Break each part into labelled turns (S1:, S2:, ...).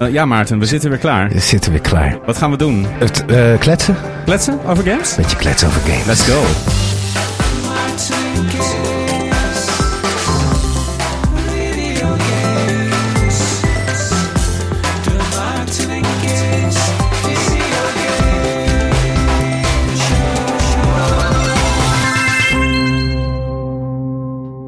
S1: Eh, ja, Maarten, we zitten weer klaar.
S2: We zitten weer klaar.
S1: Wat gaan we doen?
S2: Het eh, kletsen?
S1: Kletsen over games?
S2: Beetje kletsen over games.
S1: Let's go.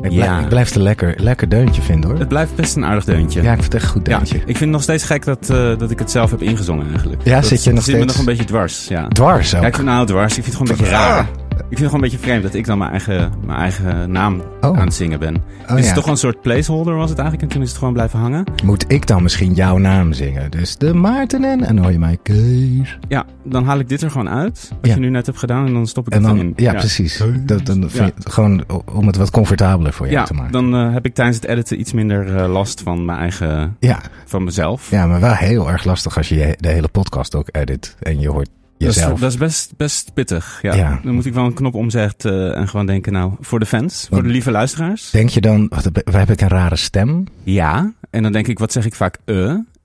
S2: Ik,
S1: Ja.
S2: blij- ik blijf het een lekker, lekker deuntje vinden hoor.
S1: Het blijft best een aardig deuntje.
S2: Ja, ik vind het echt een goed
S1: Ja,
S2: deuntje.
S1: ik vind het nog steeds gek dat, eh, dat ik het zelf heb ingezongen eigenlijk.
S2: Ja,
S1: dat
S2: zit je nog
S1: zit me
S2: steeds-
S1: nog een beetje dwars. Ja.
S2: Dwars ook. Ah!
S1: Ja, ik vind nou dwars. Ik vind het gewoon een beetje raar. Ik vind het gewoon een beetje vreemd dat ik dan mijn eigen, mijn eigen naam
S2: Oh.
S1: aan het zingen ben. dus het
S2: ja.
S1: is toch een soort placeholder was het eigenlijk. En toen is het gewoon blijven hangen.
S2: Moet ik dan misschien jouw naam zingen? Dus de Maarten en... En dan hoor je mij Kees.
S1: Ja, dan haal ik dit er gewoon uit. Wat
S2: Ja.
S1: je nu net hebt gedaan. En dan stop ik
S2: En
S1: het
S2: dan...
S1: erin.
S2: Ja, precies. Dat, dan vind
S1: Ja.
S2: je het gewoon o- om het wat comfortabeler voor jou
S1: Ja,
S2: te maken.
S1: dan eh, heb ik tijdens het editen iets minder eh, last van mijn eigen...
S2: Ja.
S1: Van mezelf.
S2: ja, maar wel heel erg lastig als je je de hele podcast ook edit. En je hoort
S1: Dat is,
S2: jezelf.
S1: dat is best, best pittig. Ja.
S2: Ja.
S1: Dan moet ik wel een knop omzetten eh, en gewoon denken, nou, voor de fans, voor de lieve luisteraars.
S2: Denk je dan, wat, heb- heb ik een rare stem?
S1: Ja. En dan denk ik, wat zeg ik vaak eh?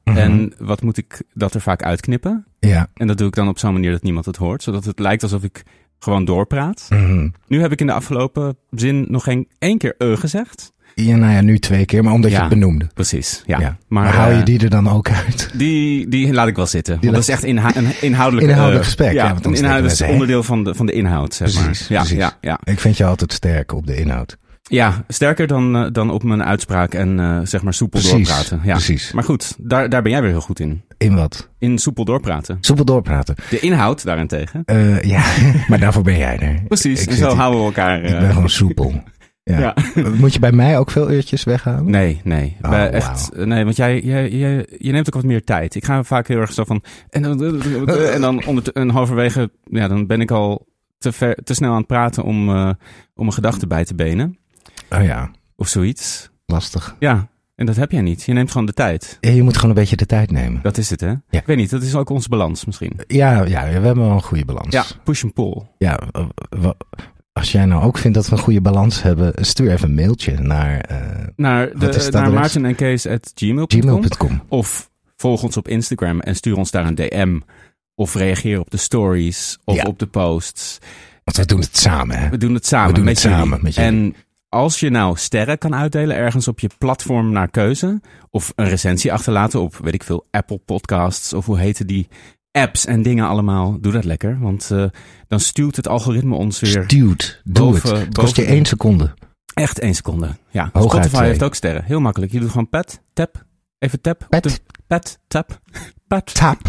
S2: Mhm.
S1: En wat moet ik dat er vaak uitknippen?
S2: Ja.
S1: En dat doe ik dan op zo'n manier dat niemand het hoort, zodat het lijkt alsof ik gewoon doorpraat.
S2: Mhm.
S1: Nu heb ik in de afgelopen zin nog geen één keer eh gezegd.
S2: Ja, nou ja, nu twee keer, maar omdat je
S1: Ja.
S2: het benoemde.
S1: Precies, ja.
S2: Ja. Maar,
S1: Maar,
S2: hou je
S1: eh,
S2: die er dan ook uit?
S1: Die, die laat ik wel zitten.
S2: Die
S1: want dat
S2: laat-
S1: is echt inha- een inhoudelijk,
S2: Inhoudelijk
S1: eh,
S2: gesprek, ja,
S1: Ja,
S2: want
S1: een
S2: anders denken
S1: inhoudelijk
S2: mensen, hè?
S1: onderdeel van de, van de inhoud, zeg
S2: Precies,
S1: maar. Ja,
S2: precies.
S1: ja, ja.
S2: Ik vind je altijd sterk op de inhoud.
S1: Ja, sterker dan, eh, dan op mijn uitspraak en eh, zeg maar soepel
S2: Precies,
S1: doorpraten. Ja.
S2: precies.
S1: Maar goed, daar, daar ben jij weer heel goed in.
S2: In wat?
S1: In soepel doorpraten.
S2: Soepel doorpraten.
S1: De inhoud daarentegen.
S2: Eh, ja, maar daarvoor ben jij er.
S1: Precies,
S2: Ik
S1: en
S2: zit
S1: zo
S2: hier-
S1: houden we elkaar.
S2: Ik
S1: eh,
S2: ben gewoon soepel. Ja.
S1: Ja.
S2: Moet je bij mij ook veel uurtjes weghalen?
S1: Nee, nee.
S2: Oh,
S1: Bij
S2: wauw.
S1: echt, eh, nee, want jij, jij, jij, je neemt ook wat meer tijd. Ik ga vaak heel erg zo van. En dan, en dan onder, en halverwege, ja, dan ben ik al te, ver, te snel aan het praten om, eh, om een gedachte bij te benen.
S2: Oh ja,
S1: Of zoiets.
S2: lastig.
S1: Ja, en dat heb jij niet. Je neemt gewoon de tijd.
S2: Ja, je moet gewoon een beetje de tijd nemen.
S1: Dat is het, hè? Ik weet niet, dat is ook onze balans misschien.
S2: Ja, ja, we hebben wel een goede balans.
S1: Ja, push en pull.
S2: Ja, eh, wa- als jij nou ook vindt dat we een goede balans hebben, stuur even een mailtje naar eh,
S1: Naar,
S2: Wat is
S1: de,
S2: het
S1: naar
S2: adres?
S1: Maarten en Kees at gmail.com.
S2: gmail.com.
S1: Of volg ons op Instagram en stuur ons daar een DM. Of reageer op de stories of
S2: Ja.
S1: op de posts.
S2: Want we doen het samen, hè?
S1: We doen het samen,
S2: We doen
S1: met,
S2: het
S1: jullie.
S2: samen met jullie.
S1: En als je nou sterren kan uitdelen ergens op je platform naar keuze. Of een recensie achterlaten op, weet ik veel, Apple Podcasts. Of hoe heten die apps en dingen allemaal. Doe dat lekker, want eh, dan stuwt het algoritme ons weer
S2: Dude, doe
S1: Boven-
S2: het. Het kost je
S1: boven-
S2: één seconde.
S1: echt één seconde. Ja,
S2: Hooguit
S1: Spotify
S2: twee.
S1: heeft ook sterren. Heel makkelijk. Je doet gewoon pet, tap, even tap. op
S2: Pet.
S1: de- pet, tap, pet,
S2: Tap.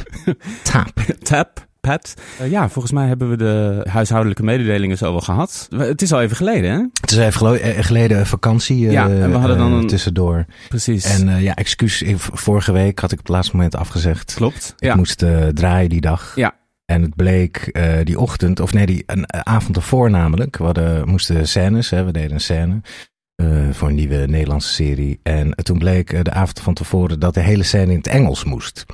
S2: Tap.
S1: tap, pet. Eh, ja, volgens mij hebben we de huishoudelijke mededelingen zo wel gehad. We- Het is al even geleden, hè?
S2: Het is even gelo- eh, geleden vakantie eh,
S1: Ja, en we hadden dan
S2: eh,
S1: een-
S2: tussendoor.
S1: Precies.
S2: En eh, ja, excuus, ik- vorige week had ik op het laatste moment afgezegd.
S1: Klopt.
S2: Ik
S1: Ja.
S2: moest eh, draaien die dag.
S1: Ja.
S2: En het bleek eh, die ochtend, of nee, die een, eh, avond ervoor namelijk. We hadden, moesten scènes, hè, we deden een scène eh, voor een nieuwe Nederlandse serie. En eh, toen bleek eh, de avond van tevoren dat de hele scène in het Engels moest.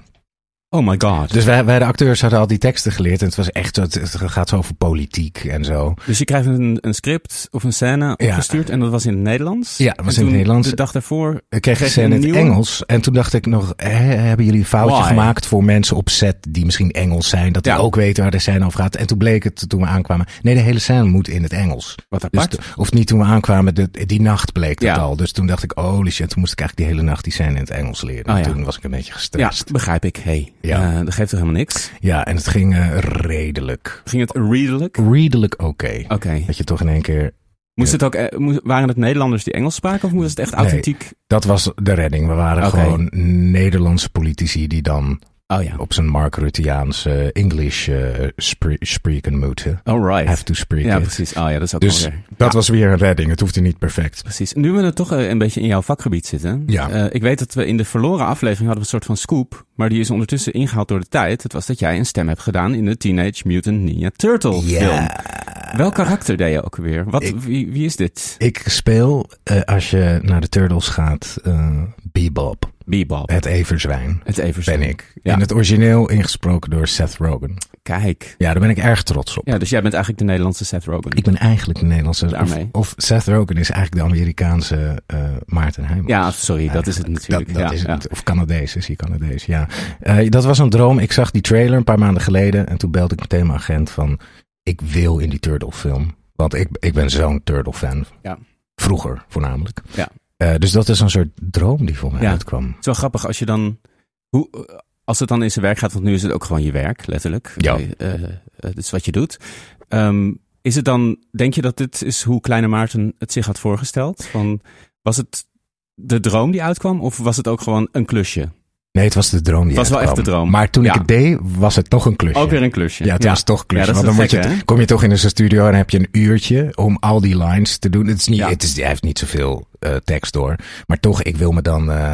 S1: Oh my god.
S2: Dus wij, wij de acteurs hadden al die teksten geleerd. En het was echt zo, het, het gaat zo over politiek en zo.
S1: Dus je krijgt een, een script of een scène
S2: Ja.
S1: opgestuurd en dat was in het Nederlands?
S2: Ja, dat was
S1: En
S2: in het
S1: toen
S2: Nederlands.
S1: De dag daarvoor
S2: Ik kreeg,
S1: Kreeg
S2: kreeg
S1: je
S2: in
S1: een
S2: het
S1: nieuwe?
S2: Engels. En toen dacht ik nog, hè, hebben jullie een foutje
S1: Why?
S2: gemaakt voor mensen op set die misschien Engels zijn? Dat die
S1: Ja.
S2: ook weten waar de scène over gaat. En toen bleek het, toen we aankwamen, nee, de hele scène moet in het Engels.
S1: Wat
S2: Dus
S1: apart.
S2: t- of niet toen we aankwamen, de, die nacht bleek dat
S1: Ja.
S2: al. Dus toen dacht ik, oh shit, toen moest ik eigenlijk die hele nacht die scène in het Engels leren.
S1: Oh ja.
S2: Toen was ik een beetje
S1: ja,
S2: gestrest. Ja,
S1: begrijp ik. Hey,
S2: Ja.
S1: eh, dat geeft toch helemaal niks?
S2: en het ging eh, redelijk,
S1: Ging het redelijk? Oké.
S2: redelijk oké. Dat je toch in één keer
S1: Moest het ook, eh, moest- waren het Nederlanders die Engels spraken of moest het echt
S2: Nee.
S1: authentiek?
S2: Dat was de redding. We waren
S1: Oké.
S2: gewoon Nederlandse politici die dan
S1: Oh ja.
S2: op zijn Mark Rutteaanse English eh, spre- spreken moeten.
S1: Alright.
S2: Have to speak
S1: Ja,
S2: it.
S1: precies. Oh ja, dat is ook
S2: Dus
S1: wel weer.
S2: dat was weer een redding. Het hoefde niet perfect.
S1: Precies. Nu we er toch eh, een beetje in jouw vakgebied zitten.
S2: Ja.
S1: Eh, ik weet dat we in de verloren aflevering hadden we een soort van scoop. Maar die is ondertussen ingehaald door de tijd. Het was dat jij een stem hebt gedaan in de Teenage Mutant Ninja Turtle film. Welk karakter deed je ook weer? Wat,
S2: Ik-
S1: wie, wie is dit?
S2: Ik speel, eh, als je naar de Turtles gaat, eh Bebop.
S1: Bebop.
S2: Het everzwijn.
S1: Het Everson.
S2: Ben ik.
S1: Ja.
S2: In het origineel ingesproken door Seth Rogen.
S1: Kijk.
S2: Ja, daar ben ik erg trots op.
S1: Ja, dus jij bent eigenlijk de Nederlandse Seth Rogen.
S2: Ik ben eigenlijk de Nederlandse. Of,
S1: Daarmee.
S2: of Seth Rogen is eigenlijk de Amerikaanse eh, Maarten Heijmans.
S1: Ja, sorry, dat is het
S2: Eigenlijk,
S1: natuurlijk.
S2: Dat, dat
S1: Ja,
S2: is
S1: ja.
S2: het. Of Canadees, is hij Canadees, ja. Eh, dat was een droom. Ik zag die trailer een paar maanden geleden en toen belde ik meteen mijn agent van... Ik wil in die Turtle film. Want ik, ik ben zo'n Turtle fan.
S1: Ja.
S2: Vroeger voornamelijk.
S1: Ja.
S2: Eh, dus dat is een soort droom die voor mij
S1: Ja.
S2: uitkwam.
S1: Het is wel grappig als je dan. Hoe, eh, als het dan in zijn werk gaat, want nu is het ook gewoon je werk, letterlijk.
S2: Ja.
S1: Eh, eh, dat is wat je doet. Ehm, is het dan, denk je dat dit is hoe Kleine Maarten het zich had voorgesteld? Van, was het de droom die uitkwam of was het ook gewoon een klusje?
S2: Nee, het was de droom die
S1: Het was wel
S2: uitkwam.
S1: echt de droom.
S2: Maar toen ik
S1: Ja.
S2: het deed, was het toch een klusje.
S1: Ook weer een klusje.
S2: Ja, het was toch klus.
S1: Ja, dat is
S2: want dan
S1: het
S2: moet je,
S1: gekke, hè?
S2: kom je toch in zijn studio en heb je een uurtje om al die lines te doen. Het is niet,
S1: Ja.
S2: het is, hij heeft niet zoveel eh, tekst door. Maar toch, ik wil me dan. eh,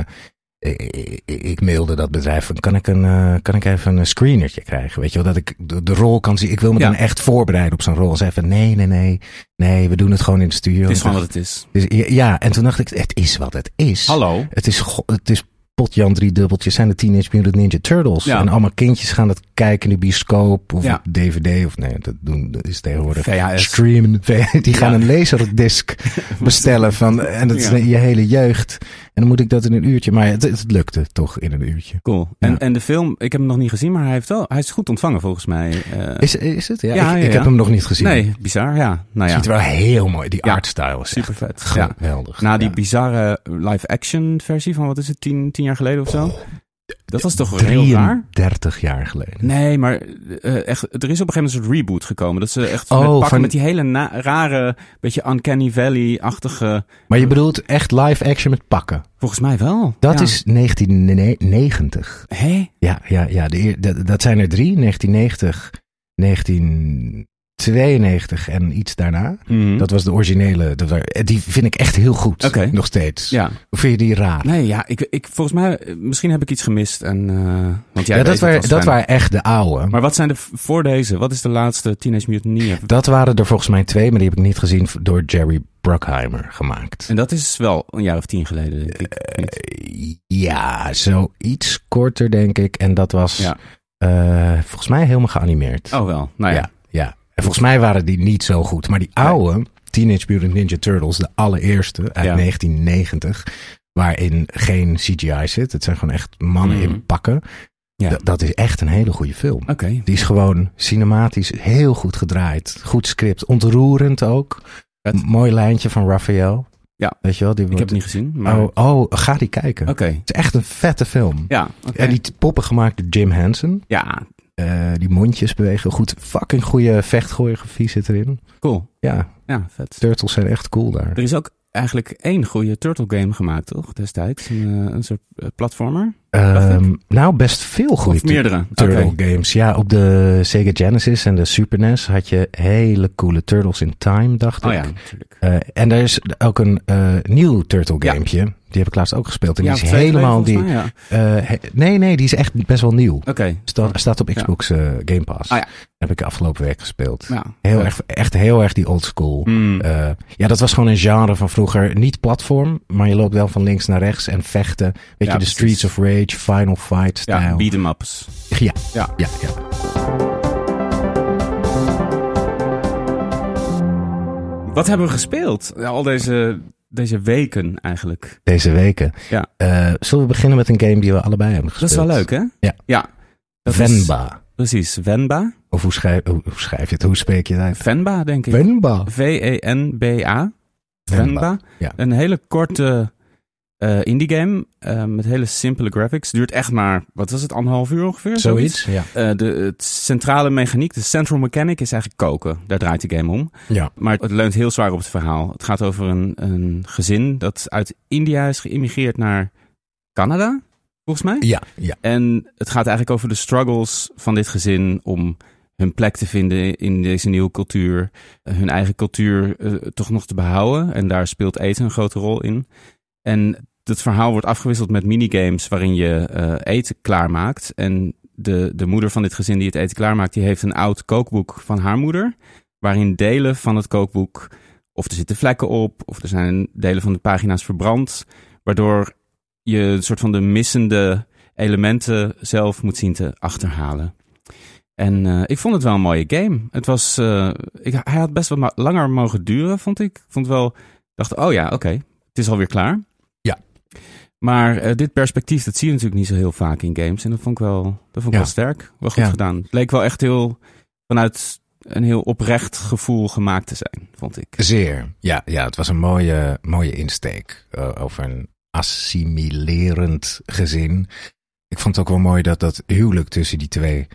S2: ik, ik- ik mailde dat bedrijf. van, Kan ik, een, eh, kan ik even een screenertje krijgen? Weet je wel, dat ik de, de rol kan zien. Ik wil me
S1: Ja.
S2: dan echt voorbereiden op zo'n rol. En zei van nee, nee, nee. Nee, we doen het gewoon in de studio.
S1: Het is
S2: En
S1: gewoon
S2: toen-
S1: wat het is.
S2: dus, ja, en toen dacht ik, het is wat het is.
S1: Hallo.
S2: Het is, go- het is potjan drie dubbeltjes. Zijn de Teenage Mutant Ninja Turtles.
S1: Ja.
S2: En allemaal kindjes gaan dat kijken in de bioscoop. Of
S1: Ja.
S2: op DVD. Of nee, dat doen dat is tegenwoordig.
S1: VHS.
S2: Streamen. V- Die gaan
S1: Ja.
S2: een laserdisc bestellen. Van, en dat is
S1: Ja.
S2: je hele jeugd. En dan moet ik dat in een uurtje. Maar het, het lukte toch in een uurtje.
S1: Cool. En,
S2: Ja.
S1: en de film, ik heb hem nog niet gezien, maar hij, heeft wel, hij is goed ontvangen volgens mij. Eh,
S2: Is, is het? Ja,
S1: Ja,
S2: ik,
S1: ja,
S2: ik heb
S1: ja.
S2: hem nog niet gezien.
S1: nee, bizar. Ja, nou ja.
S2: Ziet er wel heel mooi. Die
S1: Ja.
S2: artstyle is
S1: Super
S2: super
S1: vet. Ja.
S2: geweldig.
S1: Na die
S2: Ja.
S1: bizarre live-action versie van, wat is het, tien, tien jaar geleden of zo? dat was toch heel raar?
S2: 33 jaar geleden.
S1: Nee, maar eh, echt, er is op een gegeven moment een soort reboot gekomen. Dat ze echt
S2: Oh,
S1: met, pakken
S2: van-
S1: met die hele na- rare, beetje Uncanny Valley-achtige...
S2: Maar je bedoelt echt live action met pakken.
S1: Volgens mij wel.
S2: Dat
S1: Ja.
S2: is 1990.
S1: Hé?
S2: Ja, ja, ja de eer- dat, dat zijn er drie. 1990, 1992 en iets daarna.
S1: Mhm.
S2: Dat was de originele. dat wa- eh, die vind ik echt heel goed.
S1: Oké.
S2: Nog steeds.
S1: Ja,
S2: Hoe vind je die raar?
S1: nee, ja, ik, ik, volgens mij, eh, misschien heb ik iets gemist. En, eh, want jij
S2: ja,
S1: weet
S2: dat,
S1: het
S2: waren,
S1: als
S2: dat
S1: fan.
S2: waren echt de oude.
S1: Maar wat zijn de v- voor deze? Wat is de laatste Teenage Mutant Ninja?
S2: Dat waren er volgens mij twee, maar die heb ik niet gezien v- door Jerry Bruckheimer gemaakt.
S1: En dat is wel een jaar of tien geleden, denk
S2: Eh,
S1: ik. of niet?
S2: Ja, zoiets korter denk ik. En dat was
S1: Ja.
S2: eh, volgens mij helemaal geanimeerd.
S1: Oh wel, nou ja.
S2: Ja, ja. En volgens mij waren die niet zo goed. Maar die oude Teenage Mutant Ninja Turtles, de allereerste uit
S1: Ja.
S2: 1990, waarin geen CGI zit. Het zijn gewoon echt mannen
S1: Mhm.
S2: in pakken.
S1: Ja.
S2: Dat- Dat is echt een hele goede film.
S1: Oké,
S2: Die is gewoon cinematisch heel goed gedraaid. Goed script. Ontroerend ook.
S1: Vet.
S2: M- Mooi lijntje van Raphael.
S1: Ja.
S2: Weet je wel? Die
S1: ik heb
S2: wordt-
S1: het niet gezien, maar...
S2: oh, oh, ga die kijken.
S1: Oké,
S2: Het is echt een vette film.
S1: ja. oké.
S2: En die t- poppen gemaakt door Jim Henson.
S1: Ja,
S2: Eh, die mondjes bewegen goed. Fucking goede vechtchoreografie zit erin.
S1: cool.
S2: Ja,
S1: Ja, vet.
S2: turtles zijn echt cool daar.
S1: Er is ook eigenlijk één goede Turtle game gemaakt, toch? Destijds. Een, eh, een soort eh, platformer.
S2: Ehm, nou, best veel goede
S1: Of meerdere.
S2: tu- Turtle
S1: Oké.
S2: games. Ja, op de Sega Genesis en de Super NES had je hele coole Turtles in Time, dacht
S1: Oh ja,
S2: ik.
S1: natuurlijk.
S2: Eh, en er is ook een eh, nieuw Turtle
S1: Ja.
S2: gamepje. Die heb ik laatst ook gespeeld. En
S1: Ja,
S2: die is
S1: twee
S2: helemaal...
S1: geleden
S2: Die,
S1: volgens mij, ja.
S2: eh, he- nee, nee, die is echt best wel nieuw.
S1: Oké.
S2: Sta- staat op
S1: Ja.
S2: Xbox eh, Game Pass.
S1: Ah ja.
S2: Heb ik afgelopen week gespeeld.
S1: Ja.
S2: Heel
S1: Ja.
S2: erg, echt heel erg die old school.
S1: Mm.
S2: Eh, ja, dat was gewoon een genre van vroeger. Niet platform, maar je loopt wel van links naar rechts en vechten. Weet
S1: Ja,
S2: je, de
S1: precies.
S2: Streets of Rage Rage, Final Fight stijl.
S1: Ja, beat 'em ups.
S2: Ja,
S1: Ja.
S2: ja, ja.
S1: Wat hebben we gespeeld? Ja, Al deze, deze weken eigenlijk.
S2: Deze weken.
S1: Ja.
S2: Eh, zullen we beginnen met een game die we allebei hebben
S1: Dat
S2: gespeeld?
S1: is wel leuk, hè?
S2: Ja.
S1: ja. Dat is-
S2: Venba.
S1: precies, Venba.
S2: Of hoe schrijf, hoe hoe schrijf je het? Hoe spreek je het uit?
S1: Venba, denk ik. E
S2: Venba.
S1: V-E-N-B-A.
S2: Venba.
S1: Venba.
S2: Ja.
S1: Een hele korte eh, indie game eh, met hele simpele graphics. Duurt echt maar, wat was het, anderhalf uur ongeveer?
S2: Zoiets. Ja.
S1: Eh, de het centrale mechaniek, de central mechanic, is eigenlijk koken. Daar draait de game om.
S2: ja.
S1: Maar het leunt heel zwaar op het verhaal. Het gaat over een, een gezin dat uit India is geïmmigreerd naar Canada, volgens mij.
S2: Ja. Ja.
S1: En het gaat eigenlijk over de struggles van dit gezin om hun plek te vinden in deze nieuwe cultuur. eh, Hun eigen cultuur eh, toch nog te behouden. En daar speelt eten een grote rol in. En het verhaal wordt afgewisseld met minigames waarin je eh, eten klaarmaakt. En de, de moeder van dit gezin die het eten klaarmaakt, die heeft een oud kookboek van haar moeder. Waarin delen van het kookboek, of er zitten vlekken op, of er zijn delen van de pagina's verbrand. Waardoor je een soort van de missende elementen zelf moet zien te achterhalen. En eh, ik vond het wel een mooie game. Het was, eh, ik, hij had best wel ma- langer mogen duren, vond ik. Ik vond wel, dacht, oh ja, oké, het is alweer klaar.
S2: Ja.
S1: Maar eh, dit perspectief, dat zie je natuurlijk niet zo heel vaak in games. En dat vond ik wel, dat vond ik
S2: Ja.
S1: wel sterk. Wel goed
S2: Ja.
S1: gedaan. Het leek wel echt heel, vanuit een heel oprecht gevoel gemaakt te zijn, vond ik.
S2: Zeer. Ja, ja, het was een mooie, mooie insteek eh, over een assimilerend gezin. Ik vond het ook wel mooi dat dat huwelijk tussen die twee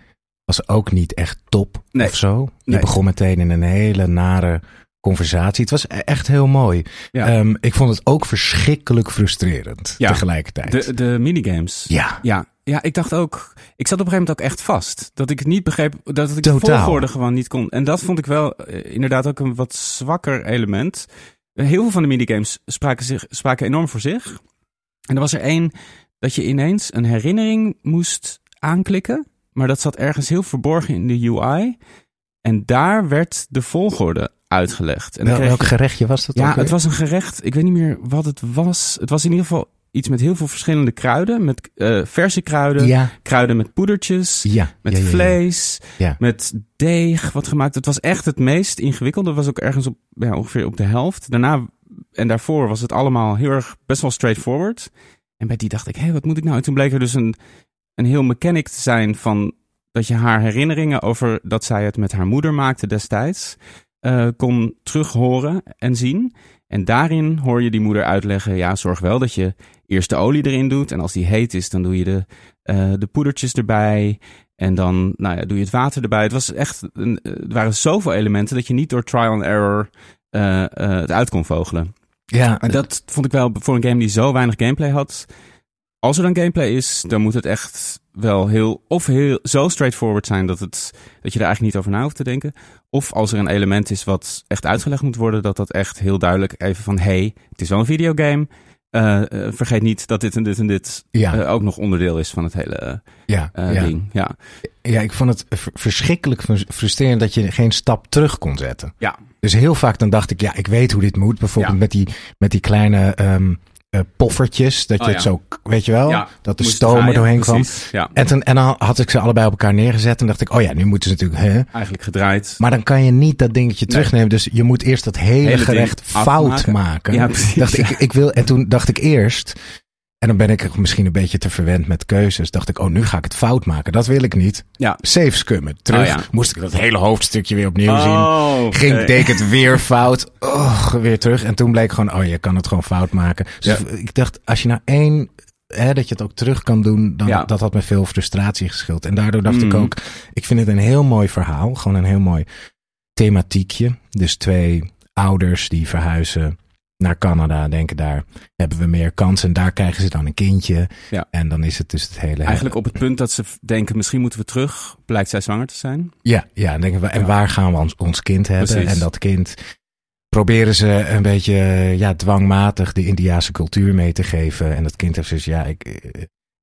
S2: was ook niet echt top
S1: Nee.
S2: of zo. Je
S1: Nee.
S2: begon meteen in een hele nare conversatie. Het was e- echt heel mooi.
S1: Ja.
S2: Ehm, ik vond het ook verschrikkelijk frustrerend
S1: Ja.
S2: tegelijkertijd.
S1: De, de minigames.
S2: Ja.
S1: Ja, ja, ik dacht ook. Ik zat op een gegeven moment ook echt vast. Dat ik het niet begreep. Dat ik de
S2: Totaal.
S1: volgorde gewoon niet kon. En dat vond ik wel eh, inderdaad ook een wat zwakker element. Eh, Heel veel van de minigames spraken, zich, spraken enorm voor zich. En er was er één dat je ineens een herinnering moest aanklikken. Maar dat zat ergens heel verborgen in de UI. En daar werd de volgorde uitgelegd. En dan
S2: Wel-
S1: kreeg
S2: welk
S1: je-
S2: gerechtje was dat? ook
S1: ja,
S2: weer?
S1: het was een gerecht. Ik weet niet meer wat het was. Het was in ieder geval iets met heel veel verschillende kruiden. Met eh, verse kruiden,
S2: Ja.
S1: kruiden met poedertjes,
S2: Ja.
S1: met
S2: ja, ja, ja.
S1: vlees,
S2: Ja.
S1: met deeg wat gemaakt. Het was echt het meest ingewikkelde. Het was ook ergens op, ja, ongeveer op de helft. Daarna en daarvoor was het allemaal heel erg best wel straightforward. En bij die dacht ik, hé, wat moet ik nou? En toen bleek er dus een, een heel mechanic te zijn van dat je haar herinneringen over dat zij het met haar moeder maakte destijds eh, kon terughoren en zien. En daarin hoor je die moeder uitleggen, ja, zorg wel dat je eerst de olie erin doet. En als die heet is, dan doe je de, eh, de poedertjes erbij. En dan nou ja, doe je het water erbij. Het was echt, een, eh, er waren zoveel elementen dat je niet door trial and error eh, eh, het uit kon vogelen.
S2: Ja,
S1: En dat vond ik wel voor een game die zo weinig gameplay had. Als er dan gameplay is, dan moet het echt wel heel of heel zo straightforward zijn dat, het, dat je er eigenlijk niet over na hoeft te denken. Of als er een element is wat echt uitgelegd moet worden, dat dat echt heel duidelijk even van hey, het is wel een videogame. Eh, eh, vergeet niet dat dit en dit en dit
S2: ja,
S1: eh, ook nog onderdeel is van het hele
S2: ja,
S1: eh,
S2: ja.
S1: ding. Ja.
S2: Ja, ik vond het v- verschrikkelijk frus- frustrerend dat je geen stap terug kon zetten.
S1: Ja.
S2: Dus heel vaak dan dacht ik, ja, ik weet hoe dit moet. Bijvoorbeeld
S1: Ja.
S2: met, die, met die kleine ehm, eh, poffertjes, dat
S1: Oh,
S2: je het
S1: ja.
S2: zo, k- weet je wel, dat de
S1: moest
S2: stoom er
S1: draaien,
S2: doorheen kwam.
S1: precies. Ja,
S2: En, toen, en dan had ik ze allebei op elkaar neergezet en dacht ik, oh ja, nu moeten ze natuurlijk, hè?
S1: eigenlijk gedraaid.
S2: Maar dan kan je niet dat dingetje terugnemen. Dus je moet eerst dat hele,
S1: Hele
S2: gerecht
S1: ding
S2: fout
S1: afmaken.
S2: maken.
S1: Ja, precies,
S2: Dacht
S1: ja.
S2: ik, ik wil, en toen dacht ik eerst. En dan ben ik misschien een beetje te verwend met keuzes. Dacht ik, oh, nu ga ik het fout maken. Dat wil ik niet.
S1: Ja.
S2: Safe scummen. Terug
S1: Oh, ja.
S2: moest ik dat hele hoofdstukje weer opnieuw zien.
S1: Oh, oké.
S2: Ging, deed ik het weer fout. Och, weer terug. En toen bleek gewoon, oh, je kan het gewoon fout maken. Dus
S1: Ja.
S2: ik dacht, als je nou één, hè, dat je het ook terug kan doen, dan,
S1: Ja.
S2: dat had me veel frustratie geschild. En daardoor dacht ik
S1: Mm.
S2: ook, ik vind het een heel mooi verhaal. Gewoon een heel mooi thematiekje. Dus twee ouders die verhuizen naar Canada, denken daar hebben we meer kans. En daar krijgen ze dan een kindje.
S1: Ja.
S2: En dan is het dus het hele...
S1: Eigenlijk op het punt dat ze denken, misschien moeten we terug, blijkt zij zwanger te zijn.
S2: Ja, ja en, denken we, en
S1: Ja.
S2: waar gaan we ons, ons kind hebben?
S1: Precies.
S2: En dat kind proberen ze een beetje ja, dwangmatig de Indiase cultuur mee te geven. En dat kind heeft dus, ja, ik eh,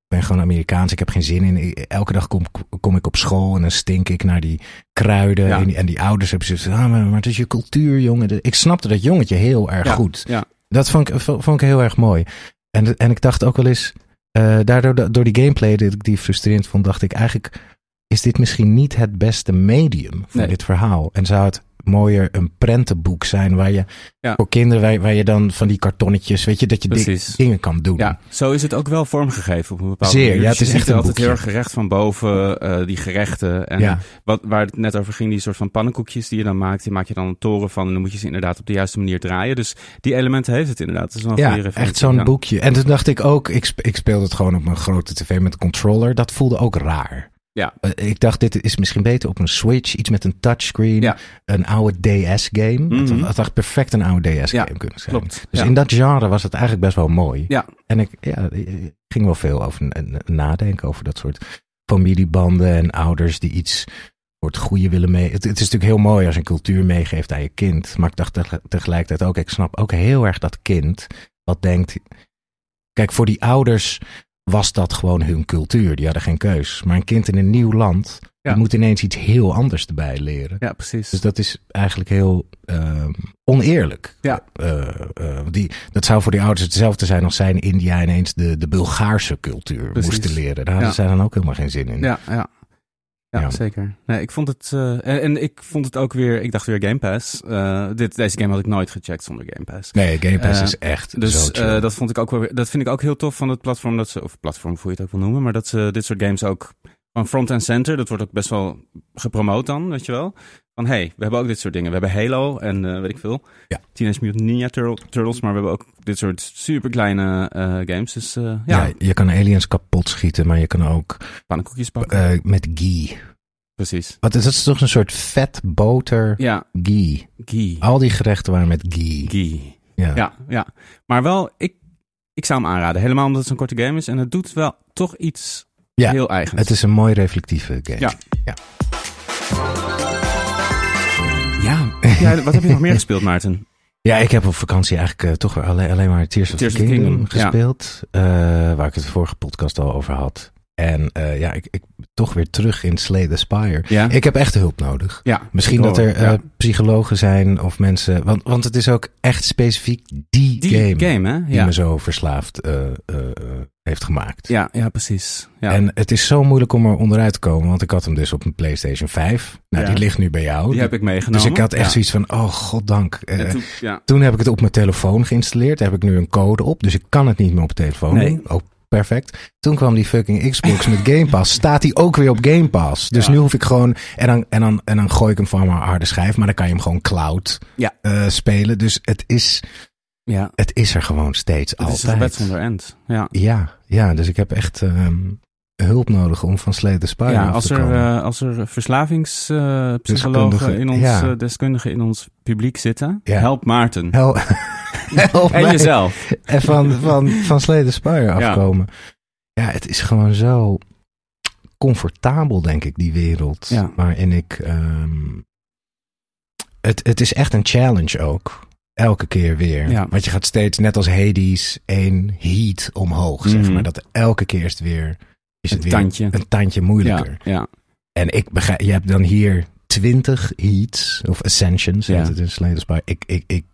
S2: ben gewoon Amerikaans, ik heb geen zin in. Elke dag kom, kom ik op school en dan stink ik naar die kruiden.
S1: Ja.
S2: En, die, en die ouders hebben zoiets van, ah, maar, maar het is je cultuur, jongen. Ik snapte dat jongetje heel erg
S1: Ja,
S2: goed.
S1: ja.
S2: Dat vond ik, vond vond ik heel erg mooi. En, en ik dacht ook wel eens, eh, daardoor, da- door die gameplay dat ik die frustrerend vond, dacht ik eigenlijk is dit misschien niet het beste medium voor
S1: Nee.
S2: dit verhaal. En zou het mooier een prentenboek zijn waar je
S1: Ja.
S2: voor kinderen, waar, waar je dan van die kartonnetjes, weet je, dat je di-
S1: Precies.
S2: dingen kan doen.
S1: Ja, zo is het ook wel vormgegeven op een bepaalde
S2: Zeer,
S1: manier.
S2: ja,
S1: Dus
S2: het
S1: je ziet
S2: is echt
S1: er
S2: een
S1: altijd heel
S2: boekje.
S1: erg gerecht van boven, eh, die gerechten. En
S2: Ja.
S1: wat, waar het net over ging, die soort van pannenkoekjes die je dan maakt, die maak je dan een toren van en dan moet je ze inderdaad op de juiste manier draaien. Dus die elementen heeft het inderdaad. Dat is wel een
S2: Ja,
S1: goede referentie.
S2: echt zo'n
S1: Ja.
S2: boekje. En toen dacht ik ook, ik, sp- ik speelde het gewoon op mijn grote tv met een controller. Dat voelde ook raar.
S1: Ja.
S2: Eh, Ik dacht, dit is misschien beter op een Switch, iets met een touchscreen,
S1: Ja.
S2: een oude DS-game.
S1: Mhm.
S2: Het had perfect een oude DS-game
S1: Ja,
S2: kunnen zijn.
S1: Klopt.
S2: Dus
S1: ja.
S2: in dat genre was het eigenlijk best wel mooi.
S1: Ja.
S2: En ik ja, ik ging wel veel over n- n- nadenken over dat soort familiebanden en ouders die iets voor het goede willen mee. Het, het is natuurlijk heel mooi als je een cultuur meegeeft aan je kind. Maar ik dacht tege- tegelijkertijd ook, ik snap ook heel erg dat kind wat denkt. Kijk, voor die ouders was dat gewoon hun cultuur. Die hadden geen keus. Maar een kind in een nieuw land
S1: Ja.
S2: die moet ineens iets heel anders erbij leren.
S1: ja, precies.
S2: Dus dat is eigenlijk heel ehm, oneerlijk.
S1: Ja.
S2: Eh, eh, die, dat zou voor die ouders hetzelfde zijn als zij in India ineens de, de Bulgaarse cultuur
S1: Precies.
S2: moesten leren. Daar hadden
S1: Ja.
S2: zij dan ook helemaal geen zin in.
S1: Ja, ja. Ja,
S2: Ja.
S1: zeker. Nee, ik vond het, eh, en, en ik vond het ook weer, ik dacht weer Game Pass. Eh, dit, deze game had ik nooit gecheckt zonder Game Pass.
S2: Nee, Game Pass
S1: Eh,
S2: is echt
S1: Dus
S2: zo chill.
S1: eh, dat vond ik ook wel weer- dat vind ik ook heel tof van het platform dat ze, of platform hoe je het ook wil noemen, maar dat ze dit soort games ook van front en center, dat wordt ook best wel gepromoot dan, weet je wel. Van hey, we hebben ook dit soort dingen. We hebben Halo en eh, weet ik veel.
S2: Ja.
S1: Teenage Mutant Ninja Turtle- Turtles, maar we hebben ook dit soort superkleine eh, games. Dus eh, ja,
S2: ja. je kan aliens kapot schieten, maar je kan ook
S1: pannenkoekjes pakken.
S2: eh, met ghee.
S1: Precies.
S2: Wat is dat? is toch een soort vet boter
S1: Ja,
S2: ghee.
S1: Ghee.
S2: Al die gerechten waren met ghee.
S1: Ghee.
S2: Oh, Ja.
S1: Ja, ja. Maar wel, ik, ik zou hem aanraden. Helemaal omdat het zo'n korte game is. En het doet wel toch iets
S2: Ja,
S1: heel eigens.
S2: Het is een mooi reflectieve game.
S1: Ja.
S2: ja.
S1: Ja. ja, wat heb je nog meer gespeeld, Maarten?
S2: Ja, ik heb op vakantie eigenlijk eh, toch weer alleen, alleen maar Tears of
S1: Tears
S2: the
S1: of the
S2: Kingdom,
S1: Kingdom, ja.
S2: gespeeld. eh, waar ik het de vorige podcast al over had. En eh, ja, ik, ik toch weer terug in Slay the Spire.
S1: Ja.
S2: Ik heb echt hulp nodig.
S1: ja
S2: Misschien
S1: ik
S2: dat
S1: hoor,
S2: er eh,
S1: ja.
S2: psychologen zijn of mensen. Want, want het is ook echt specifiek die,
S1: Die
S2: game,
S1: game, hè?
S2: die
S1: Ja.
S2: me zo verslaafd eh, eh, eh, heeft gemaakt.
S1: Ja, ja, precies. Ja.
S2: En het is zo moeilijk om er onderuit te komen. Want ik had hem dus op een PlayStation 5. Nou,
S1: Ja.
S2: die ligt nu bij jou.
S1: die heb ik meegenomen.
S2: dus ik had echt
S1: ja.
S2: zoiets van, oh goddank. eh,
S1: En toen- ja.
S2: toen heb ik het op mijn telefoon geïnstalleerd. Daar heb ik nu een code op. Dus ik kan het niet meer op de telefoon
S1: Nee.
S2: doen. Ook perfect. Toen kwam die fucking Xbox met Game Pass. Staat die ook weer op Game Pass. Dus
S1: Ja.
S2: nu hoef ik gewoon... En dan, en, dan, en dan gooi ik hem van mijn harde schijf. Maar dan kan je hem gewoon cloud
S1: Ja.
S2: eh, spelen. Dus het is,
S1: ja.
S2: het is er gewoon steeds
S1: Het is een
S2: altijd.
S1: gebed zonder end. Ja.
S2: ja, ja, dus ik heb echt ehm, hulp nodig om van Slay the Spire
S1: Ja,
S2: af
S1: als
S2: te
S1: er,
S2: komen.
S1: eh, als er verslawingspsychologen
S2: Deskundigen,
S1: in ons,
S2: ja.
S1: eh, deskundigen in ons publiek zitten,
S2: Ja.
S1: help Maarten.
S2: Hel- Help
S1: en
S2: mij.
S1: jezelf.
S2: En van, van, van Slay the Spire
S1: Ja.
S2: afkomen. Ja. het is gewoon zo comfortabel, denk ik, die wereld.
S1: Ja.
S2: Waarin ik... ehm, het, het is echt een challenge ook. Elke keer weer.
S1: Ja.
S2: Want je gaat steeds, net als Hades, één heat omhoog, zeg
S1: Mhm.
S2: maar. Dat elke keer is het weer... Is
S1: Een
S2: het weer
S1: tandje.
S2: Een tandje moeilijker.
S1: Ja, ja.
S2: En ik begrijp, je hebt dan hier 20 heats of ascensions.
S1: Ja.
S2: Ja. Het in Slay the Spire. Ik, ik, ik,